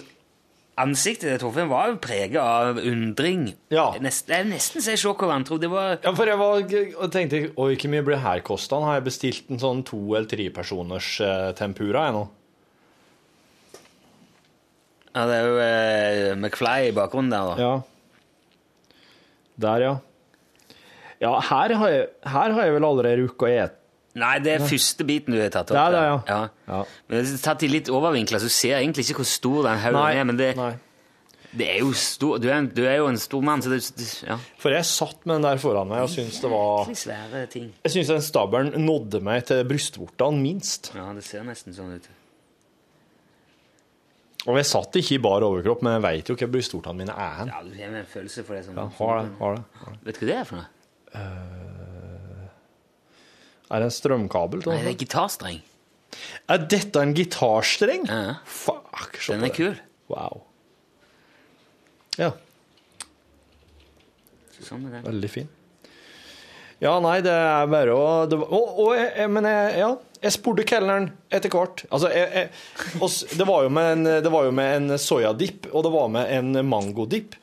Speaker 2: ansiktet til Torfinn var jo preget av undring.
Speaker 3: Ja.
Speaker 2: Nest, det er nesten så jeg så hva han trodde. Det var
Speaker 3: Ja, for jeg var, og tenkte Oi, hvor mye blir det her kosta? Har jeg bestilt en sånn to- eller trepersoners eh, tempura jeg nå?
Speaker 2: Ja, det er jo eh, McFly i bakgrunnen der, da.
Speaker 3: Ja. Der, ja. Ja, her har jeg, her har jeg vel allerede rukket å ete.
Speaker 2: Nei, det er første biten du har tatt opp.
Speaker 3: Der, der, ja.
Speaker 2: der.
Speaker 3: Ja.
Speaker 2: Men det er tatt i litt overvinkler, så du ser egentlig ikke hvor stor den haugen er, men det,
Speaker 3: nei.
Speaker 2: det er jo stor, du, er, en- du er jo en stor mann, så det, det- ja.
Speaker 3: For jeg satt med den der foran meg og syntes det var
Speaker 2: Litt svære ting.
Speaker 3: Jeg syns den stabelen nådde meg til brystvortene minst.
Speaker 2: Ja, det ser nesten sånn ut.
Speaker 3: Og jeg satt ikke i bar overkropp, men jeg veit jo hvor brystvortene mine er hen.
Speaker 2: Ja, du har en følelse for det. Som,
Speaker 3: Ja, har det, har det.
Speaker 2: Vet du hva det er for noe?
Speaker 3: Er det en strømkabel? til
Speaker 2: Nei, det
Speaker 3: noe?
Speaker 2: er gitarstreng.
Speaker 3: Er dette en gitarstreng?
Speaker 2: Ja.
Speaker 3: Fuck, se
Speaker 2: Den er
Speaker 3: på det.
Speaker 2: kul.
Speaker 3: Wow. Ja,
Speaker 2: Sånn er det.
Speaker 3: veldig fin. Ja, nei, det er bare å det, var- å, å, jeg, jeg, Men jeg, ja, jeg spurte kelneren etter hvert. Altså, jeg, jeg, og s- det, var jo med en, det var jo med en soyadipp, og det var med en mangodipp.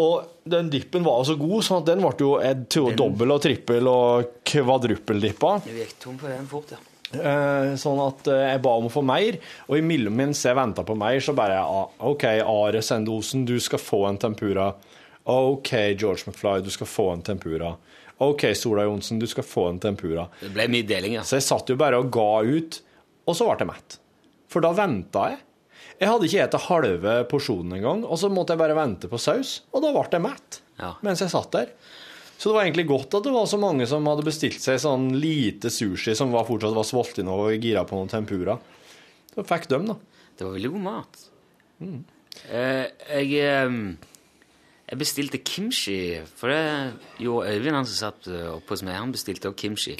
Speaker 3: Og den dippen var jo så god, sånn at den ble jo jeg tror, dobbel og trippel og kvadruppeldippa.
Speaker 2: Du gikk tom for den fort, ja.
Speaker 3: Eh, sånn at eh, jeg ba om å få mer, og i mellom mens jeg venta på mer, så bare ah, OK, Are Sendosen, du skal få en tempura. OK, George McFly, du skal få en tempura. OK, Sola Johnsen, du skal få en tempura.
Speaker 2: Det ble mye deling, altså. ja.
Speaker 3: Så jeg satt jo bare og ga ut, og så ble jeg mett. For da venta jeg. Jeg hadde ikke spist halve porsjonen engang, og så måtte jeg bare vente på saus, og da ble jeg mett
Speaker 2: Ja.
Speaker 3: mens jeg satt der. Så det var egentlig godt at det var så mange som hadde bestilt seg sånn lite sushi som var fortsatt var sultne og gira på noen tempura. Så fikk dem, da.
Speaker 2: Det var veldig god mat.
Speaker 3: Mm.
Speaker 2: Eh, jeg, ehm, jeg bestilte kimchi, for det gjorde Øyvind, han som satt eh, oppe hos meg, han bestilte også kimchi.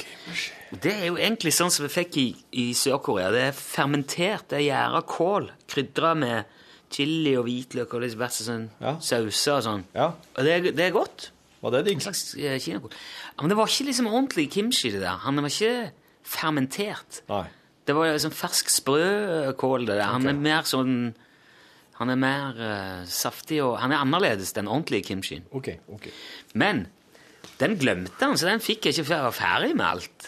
Speaker 2: Og Det er jo egentlig sånn som vi fikk i, i Sør-Korea. Det er fermentert, det er gjæra kål, krydra med chili og hvitløk og litt verste sånn
Speaker 3: Ja.
Speaker 2: sauser og sånn.
Speaker 3: Ja.
Speaker 2: Og det, er- det er godt.
Speaker 3: Var det
Speaker 2: En
Speaker 3: digg?
Speaker 2: slags eh, kinakål. Ja, men det var ikke liksom ordentlig kimchi, det der. Han var ikke fermentert.
Speaker 3: Nei.
Speaker 2: Det var liksom fersk sprø kål, det der. Han er mer sånn Han er mer eh, saftig og Han er annerledes enn ordentlige kimchien.
Speaker 3: OK. ok.
Speaker 2: Men den glemte han, så den fikk jeg ikke før jeg var ferdig med alt.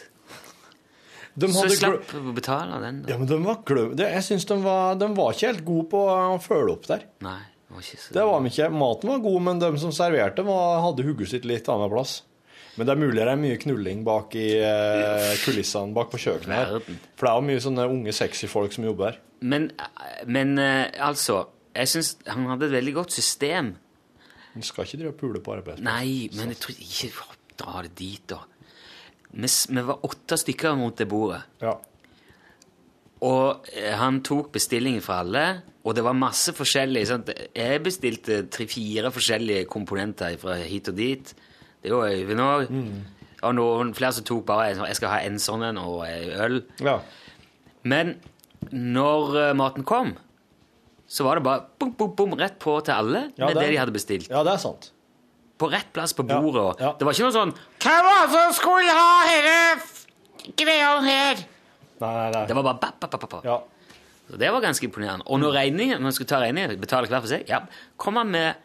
Speaker 3: De
Speaker 2: Så
Speaker 3: hadde
Speaker 2: jeg
Speaker 3: glø-
Speaker 2: slapp å betale den.
Speaker 3: Ja, men de var glø... det- Jeg syns de var, de var ikke helt gode på å følge opp der.
Speaker 2: Nei, det var ikke så
Speaker 3: Det var de ikke. Maten var god, men de som serverte, var, hadde hodet sitt litt annen plass. Men det er mulig det er mye knulling bak i eh, kulissene bak på kjøkkenet her.
Speaker 2: Verden.
Speaker 3: For det er jo mye sånne unge, sexy folk som jobber her.
Speaker 2: Men, eh, men eh, altså Jeg syns han hadde et veldig godt system.
Speaker 3: Du skal ikke drive og pule på arbeidsplassen.
Speaker 2: Nei, men jeg tror ikke Dra det dit, da. Vi, s- vi var åtte stykker mot det bordet.
Speaker 3: Ja.
Speaker 2: Og eh, han tok bestillingen fra alle, og det var masse forskjellig. Sant? Jeg bestilte tre-fire forskjellige komponenter fra hit og dit. Det var Øyvind òg. Og noen flere som tok bare en sånn, Jeg skal ha en sånn en og en øl.
Speaker 3: ja.
Speaker 2: Men når eh, maten kom, så var det bare bom, bom, bom, rett på til alle
Speaker 3: Ja,
Speaker 2: med det,
Speaker 3: det-
Speaker 2: de hadde bestilt.
Speaker 3: Ja, det er sant.
Speaker 2: På rett plass på
Speaker 3: Ja,
Speaker 2: bordet. og
Speaker 3: ja.
Speaker 2: Det var ikke noe sånn Hva var det som skulle ha denne greia her?
Speaker 3: Nei, nei, nei.
Speaker 2: Det var bare bap, bap, bap, bap.
Speaker 3: Ja.
Speaker 2: Så det var ganske imponerende. Og når regningen, man skulle ta regningen, betale hver for seg, ja, kom han med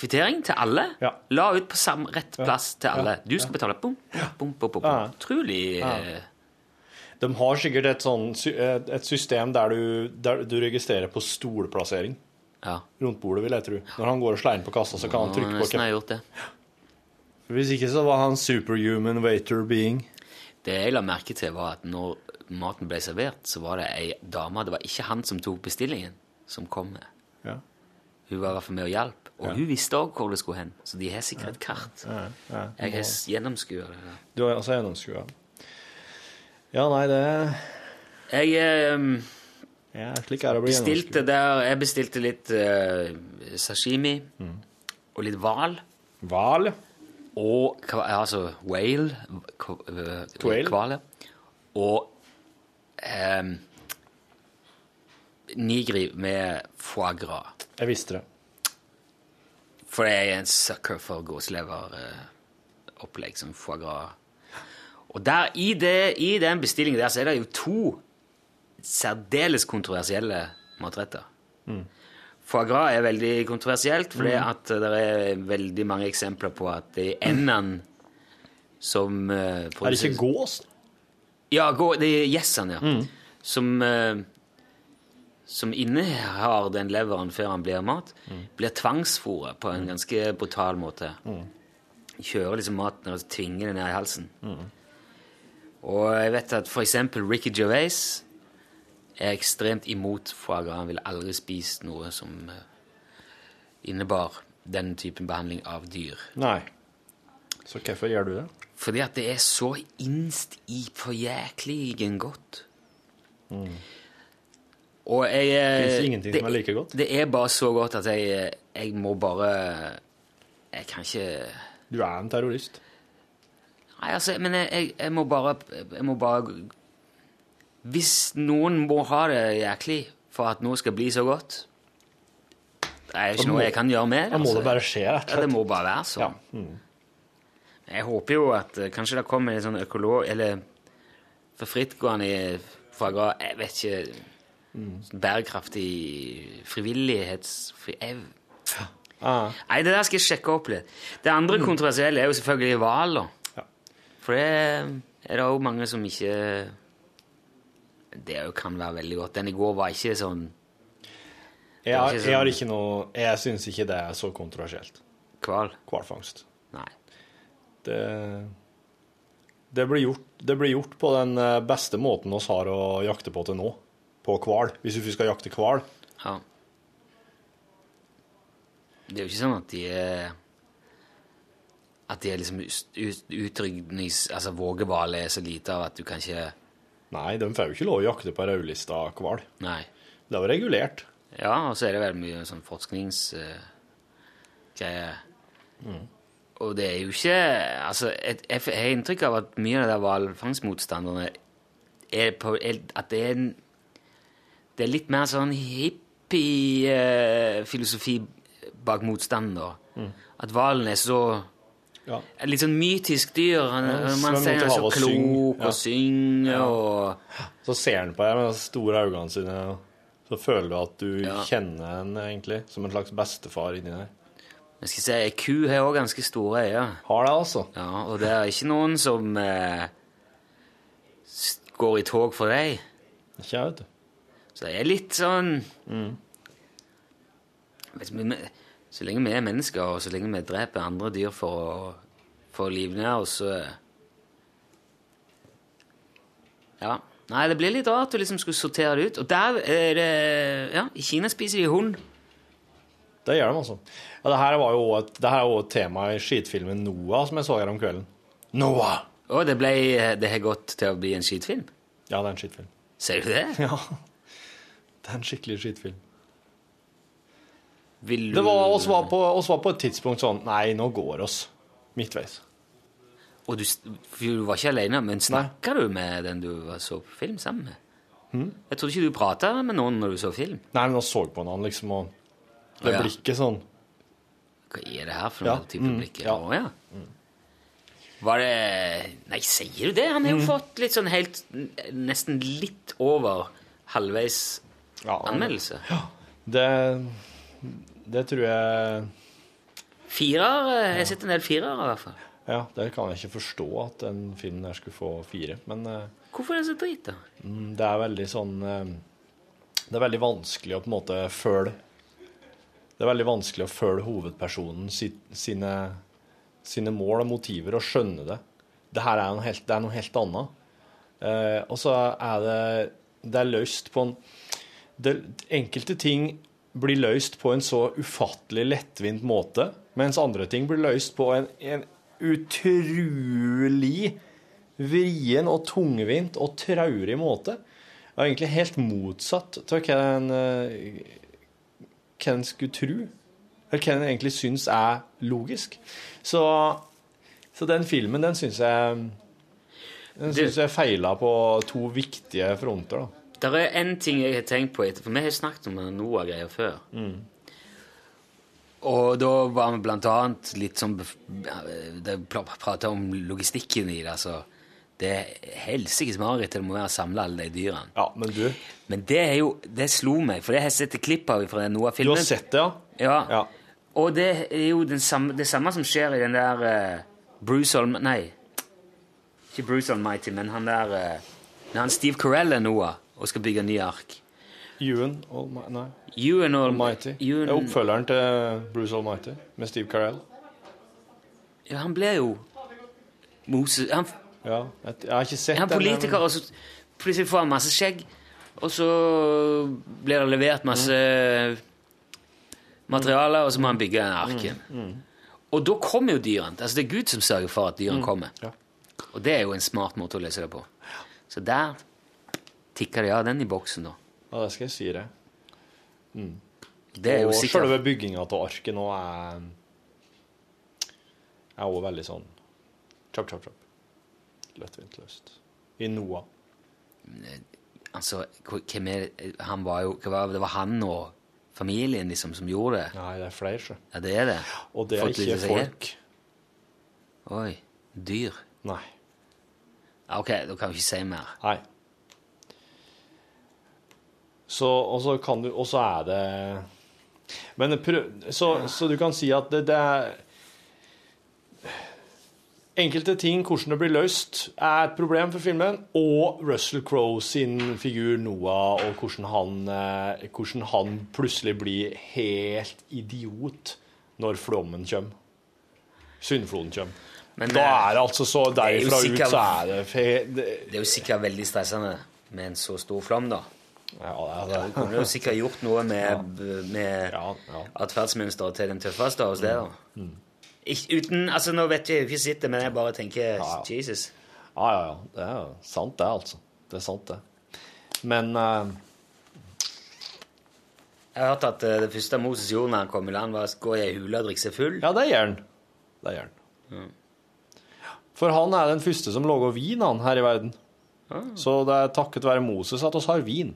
Speaker 2: kvittering til alle,
Speaker 3: Ja.
Speaker 2: la ut på samme rett plass til alle. Du skal betale, bom, bom, bom, bom.
Speaker 3: Ja.
Speaker 2: Utrolig. eh,
Speaker 3: De har sikkert et, sånn, sy- et et system der du, der du registrerer på stolplassering
Speaker 2: Ja,
Speaker 3: rundt bordet, vil jeg tro. Når han går og slår inn på kassa, så kan han
Speaker 2: han
Speaker 3: trykke på
Speaker 2: nesten har gjort det.
Speaker 3: knappen. Hvis ikke så var han superhuman waiter being.
Speaker 2: Det jeg la merke til var at når maten ble servert, så var det ei dame, det var ikke han som tok bestillingen, som kom med.
Speaker 3: Ja.
Speaker 2: Hun var i hvert fall med og hjalp, og hun visste også hvor det skulle hen, så de har sikkert et kart. Jeg har s- gjennomskuet det. der.
Speaker 3: Du har altså gjennomskua. Ja, nei, det
Speaker 2: Jeg... ehm,
Speaker 3: ja, Slik er det å bli
Speaker 2: Bestilte
Speaker 3: gjennomskua.
Speaker 2: der, jeg bestilte litt eh, sashimi og litt hval.
Speaker 3: Hval.
Speaker 2: Og kva- altså whale. k- eh,
Speaker 3: Quail?
Speaker 2: Hval. ja. Og ehm, nigri med foie gras.
Speaker 3: Jeg visste det.
Speaker 2: For jeg er en sucker for gåseleveropplegg som foie gras. Og der, i, det, i den bestillingen der så er det jo to særdeles kontroversielle matretter.
Speaker 3: Mm.
Speaker 2: Foie gras er veldig kontroversielt, fordi at det er veldig mange eksempler på at det er enden som eh,
Speaker 3: Er det ikke gås?
Speaker 2: ja, gå, det er gjessene, ja. Som eh, som innehar den leveren før han blir mat, blir tvangsfôret på en ganske brutal måte. Kjører liksom maten og tvinger den ned i halsen. Og jeg vet at f.eks. Ricky Gervais er ekstremt imot foie Han ville aldri spist noe som eh, innebar den typen behandling av dyr.
Speaker 3: Nei. Så hvorfor gjør du det?
Speaker 2: Fordi at det er så innst i forjækligen godt. Og jeg eh,
Speaker 3: Finnes det ingenting som er like godt?
Speaker 2: Det er bare så godt at jeg, eh, jeg må bare Jeg kan ikke
Speaker 3: Du er en terrorist.
Speaker 2: Nei, altså, men jeg, jeg, jeg må bare Jeg må bare Hvis noen må ha det jæklig for at noe skal bli så godt Det er ikke
Speaker 3: må-
Speaker 2: noe jeg kan gjøre med det.
Speaker 3: Da må
Speaker 2: altså.
Speaker 3: det bare skje, rett
Speaker 2: Ja,
Speaker 3: og
Speaker 2: det
Speaker 3: slett.
Speaker 2: må bare være
Speaker 3: Ja.
Speaker 2: sånn. Mm. Jeg håper jo at eh, kanskje det kommer en sånn økolog Eller for frittgående fagra Jeg vet ikke sånn Bærekraftig frivillighets... Fri, jeg,
Speaker 3: Ah.
Speaker 2: nei, det der skal jeg sjekke opp litt. Det andre kontroversielle er jo selvfølgelig hvaler.
Speaker 3: Mm. Ja.
Speaker 2: For det er det òg mange som ikke Det jo kan være veldig godt. Den i går var ikke sånn
Speaker 3: Jeg,
Speaker 2: er
Speaker 3: har,
Speaker 2: ikke
Speaker 3: jeg har
Speaker 2: sånn-
Speaker 3: ikke noe Jeg syns ikke det er så kontroversielt.
Speaker 2: kval.
Speaker 3: Hvalfangst.
Speaker 2: Nei.
Speaker 3: Det, det, blir gjort, det blir gjort på den eh, beste måten vi har å jakte på til nå. På hval. Hvis vi skal jakte hval.
Speaker 2: Ja. Det er jo ikke sånn at de er At de er liksom ut- ut- utrydnings... Altså vågehval er så lite av at du kan ikke
Speaker 3: Nei, de får jo ikke lov å jakte på rødlista hval.
Speaker 2: Nei.
Speaker 3: Det er jo regulert.
Speaker 2: Ja, og så er det veldig mye sånn forskningsgreier.
Speaker 3: Mm.
Speaker 2: Og det er jo ikke Altså, et, jeg f- jeg har inntrykk av at mye av de der hvalfangstmotstanderne er på er, At det er en Det er litt mer sånn hippie-filosofi bak motstanden, da. At hvalen er så
Speaker 3: Mm. Ja.
Speaker 2: et Litt sånn mytisk dyr. Han,
Speaker 3: Ja,
Speaker 2: man
Speaker 3: svømmer
Speaker 2: sier
Speaker 3: til
Speaker 2: han er så
Speaker 3: havet og syng.
Speaker 2: klok
Speaker 3: Ja.
Speaker 2: og synger og
Speaker 3: Så ser han på deg med de store øynene sine, og så føler du at du
Speaker 2: Ja.
Speaker 3: kjenner han egentlig. Som en slags bestefar inni der.
Speaker 2: Jeg skal si, ei ku har òg ganske store øyne.
Speaker 3: Har det, altså.
Speaker 2: Ja, og det er ikke noen som eh, s- går i tog for deg.
Speaker 3: Ikke jeg, vet du.
Speaker 2: Så det er litt sånn
Speaker 3: Mm.
Speaker 2: Vet du, men- Så lenge vi er mennesker, og så lenge vi dreper andre dyr for å få livnære oss, så eh, Ja. Nei, det blir litt rart å liksom skulle sortere det ut. Og der er det Ja, i Kina spiser de hund.
Speaker 3: Det gjør de, altså. Ja, det her var jo også et, det her er også et tema i skitfilmen Noah, som jeg så her om kvelden. Noah!
Speaker 2: Og det ble eh, Det har gått til å bli en skitfilm.
Speaker 3: Ja, det er en skitfilm.
Speaker 2: Ser du det?
Speaker 3: Ja. Det er en skikkelig skitfilm.
Speaker 2: Vil du
Speaker 3: Det var, oss, var på, oss var på et tidspunkt sånn Nei, nå går oss. Midtveis.
Speaker 2: Og du, for du var ikke alene, men snakka du med den du var- så film sammen med?
Speaker 3: Hmm?
Speaker 2: Jeg trodde ikke du prata med noen når du så film.
Speaker 3: Nei, men vi så på hverandre, liksom, og det
Speaker 2: Ja.
Speaker 3: blikket sånn
Speaker 2: Hva er det her for
Speaker 3: Ja,
Speaker 2: noe type
Speaker 3: mm,
Speaker 2: blikk?
Speaker 3: ja.
Speaker 2: Å, ja. Var det Nei, sier du det? Han har
Speaker 3: Hmm.
Speaker 2: jo fått litt sånn helt Nesten litt over halvveis
Speaker 3: ja,
Speaker 2: anmeldelse.
Speaker 3: Det, det tror jeg
Speaker 2: Firer? eh, Jeg har sett en del firere, i hvert fall.
Speaker 3: Ja, det kan jeg ikke forstå at den filmen der skulle få fire, men eh,
Speaker 2: Hvorfor er det så drit, da?
Speaker 3: Mm, Det er veldig sånn eh, Det er veldig vanskelig å på en måte følge Det er veldig vanskelig å følge hovedpersonen si, sine, sine mål og motiver og skjønne det. Det her er, noe helt, det er noe helt annet. Eh, og så er det Det er løst på en det, Enkelte ting blir løst på en så ufattelig lettvint måte, mens andre ting blir løst på en, en utrolig vrien og tungvint og traurig måte. Det er egentlig helt motsatt av hva en, eh, hva en skulle tro, eller hva en egentlig syns er logisk. Så, så den filmen, den syns jeg den
Speaker 2: Du-
Speaker 3: syns jeg feila på to viktige fronter, da.
Speaker 2: Det er en ting jeg har tenkt på etter, for vi har snakket om NOAH-greier før.
Speaker 3: Mm.
Speaker 2: Og da var vi blant annet litt sånn bef- Da prata om logistikken i det, altså. Det er helsikes mareritt det må være å samle alle de dyrene.
Speaker 3: Ja, men du,
Speaker 2: Men det er jo Det slo meg, for det har jeg sett et klipp av fra den
Speaker 3: du har
Speaker 2: NOAH-filmen.
Speaker 3: sett det, ja?
Speaker 2: Ja.
Speaker 3: Ja.
Speaker 2: Og det er jo den samme, det samme som skjer i den der eh, Bruce Alm... Nei. Ikke Bruce Almighty, men han der eh, Når han Steve Carell er Noah og skal bygge en ny ark,
Speaker 3: Ewan Almi- Nei,
Speaker 2: You and all
Speaker 3: Almighty.
Speaker 2: You
Speaker 3: Det er
Speaker 2: and,
Speaker 3: oppfølgeren til Bruce Almighty med Steve Carell.
Speaker 2: ja, han ble jo Moses Han,
Speaker 3: Ja, jeg, jeg har ikke sett
Speaker 2: han er
Speaker 3: den, men-
Speaker 2: politiker, og så plutselig får han masse skjegg, og så blir det levert masse materiale, og så må han bygge en ark igjen. Og da kommer jo dyrene. Altså, det er Gud som sørger for at dyrene kommer.
Speaker 3: ja.
Speaker 2: Og det er jo en smart måte å løse det på. Så der tikker det av den i boksen, da.
Speaker 3: Ja, det skal jeg si deg.
Speaker 2: Det er jo
Speaker 3: Og
Speaker 2: sikkert
Speaker 3: selve bygginga av arket nå er er òg veldig sånn Chop, chop, chop. Lettvint løst. I Noah.
Speaker 2: Altså, hva- hvem er det? Han var jo, hva var, det var han og familien liksom som gjorde det.
Speaker 3: Nei, det er flere, sjø.
Speaker 2: Ja, det er det.
Speaker 3: Og det er
Speaker 2: Folk
Speaker 3: ikke
Speaker 2: lyser seg
Speaker 3: folk.
Speaker 2: Oi. Dyr.
Speaker 3: Nei.
Speaker 2: Ja, ok, da kan vi ikke si mer.
Speaker 3: Nei. Så, og så kan du Og så er det Men prøv Så, så du kan si at det, det er Enkelte ting, hvordan det blir løst, er et problem for filmen. Og Russell Crowe sin figur Noah, og hvordan han, eh, hvordan han plutselig blir helt idiot når flommen kommer. Syndfloden kommer.
Speaker 2: Men
Speaker 3: Da
Speaker 2: eh,
Speaker 3: er det altså så
Speaker 2: er jo
Speaker 3: derifra ut,
Speaker 2: sikkert-
Speaker 3: så er det, fe- det
Speaker 2: det er jo sikkert veldig stressende med en så stor flom, da.
Speaker 3: Ja, det er
Speaker 2: Du kunne jo sikkert gjort noe med, med
Speaker 3: Ja, ja. Mm.
Speaker 2: atferdsmønsteret til den tøffeste av oss der, da. Ikk- uten, altså Nå vet jeg jo ikke sitter, men jeg bare tenker
Speaker 3: Ja, ja.
Speaker 2: Jesus.
Speaker 3: Ja, ja, ja. Det er jo sant, det, altså. Det er sant, det. Men eh,
Speaker 2: Jeg har hørt at eh, det første Moses gjorde når han kom i land, var å gå i ei hule og drikke seg full.
Speaker 3: Ja, det gjør han. Det gjør han. For han er den første som lager vin, han, her i verden. Så det er takket være Moses at oss har vin.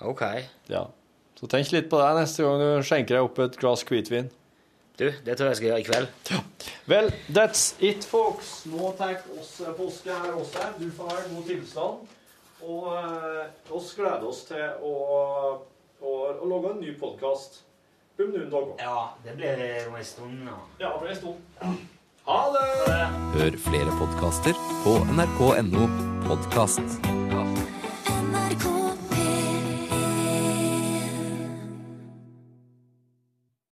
Speaker 2: Ok.
Speaker 3: Ja. Så tenk litt på det neste gang du skjenker deg opp et glass hvitvin.
Speaker 2: Du, det tror jeg jeg skal gjøre i kveld.
Speaker 3: Vel, that's it, folks. Nå tar oss påske her også. Du får ha en god tilstand. Og eh, oss gleder oss til å, å, å lage en ny podkast. Um noen dager.
Speaker 2: Ja, det blir om ei stund nå.
Speaker 3: Ja, det ble stor. Ha det!
Speaker 8: Hør flere podkaster på nrk.no podkast.
Speaker 2: Ja,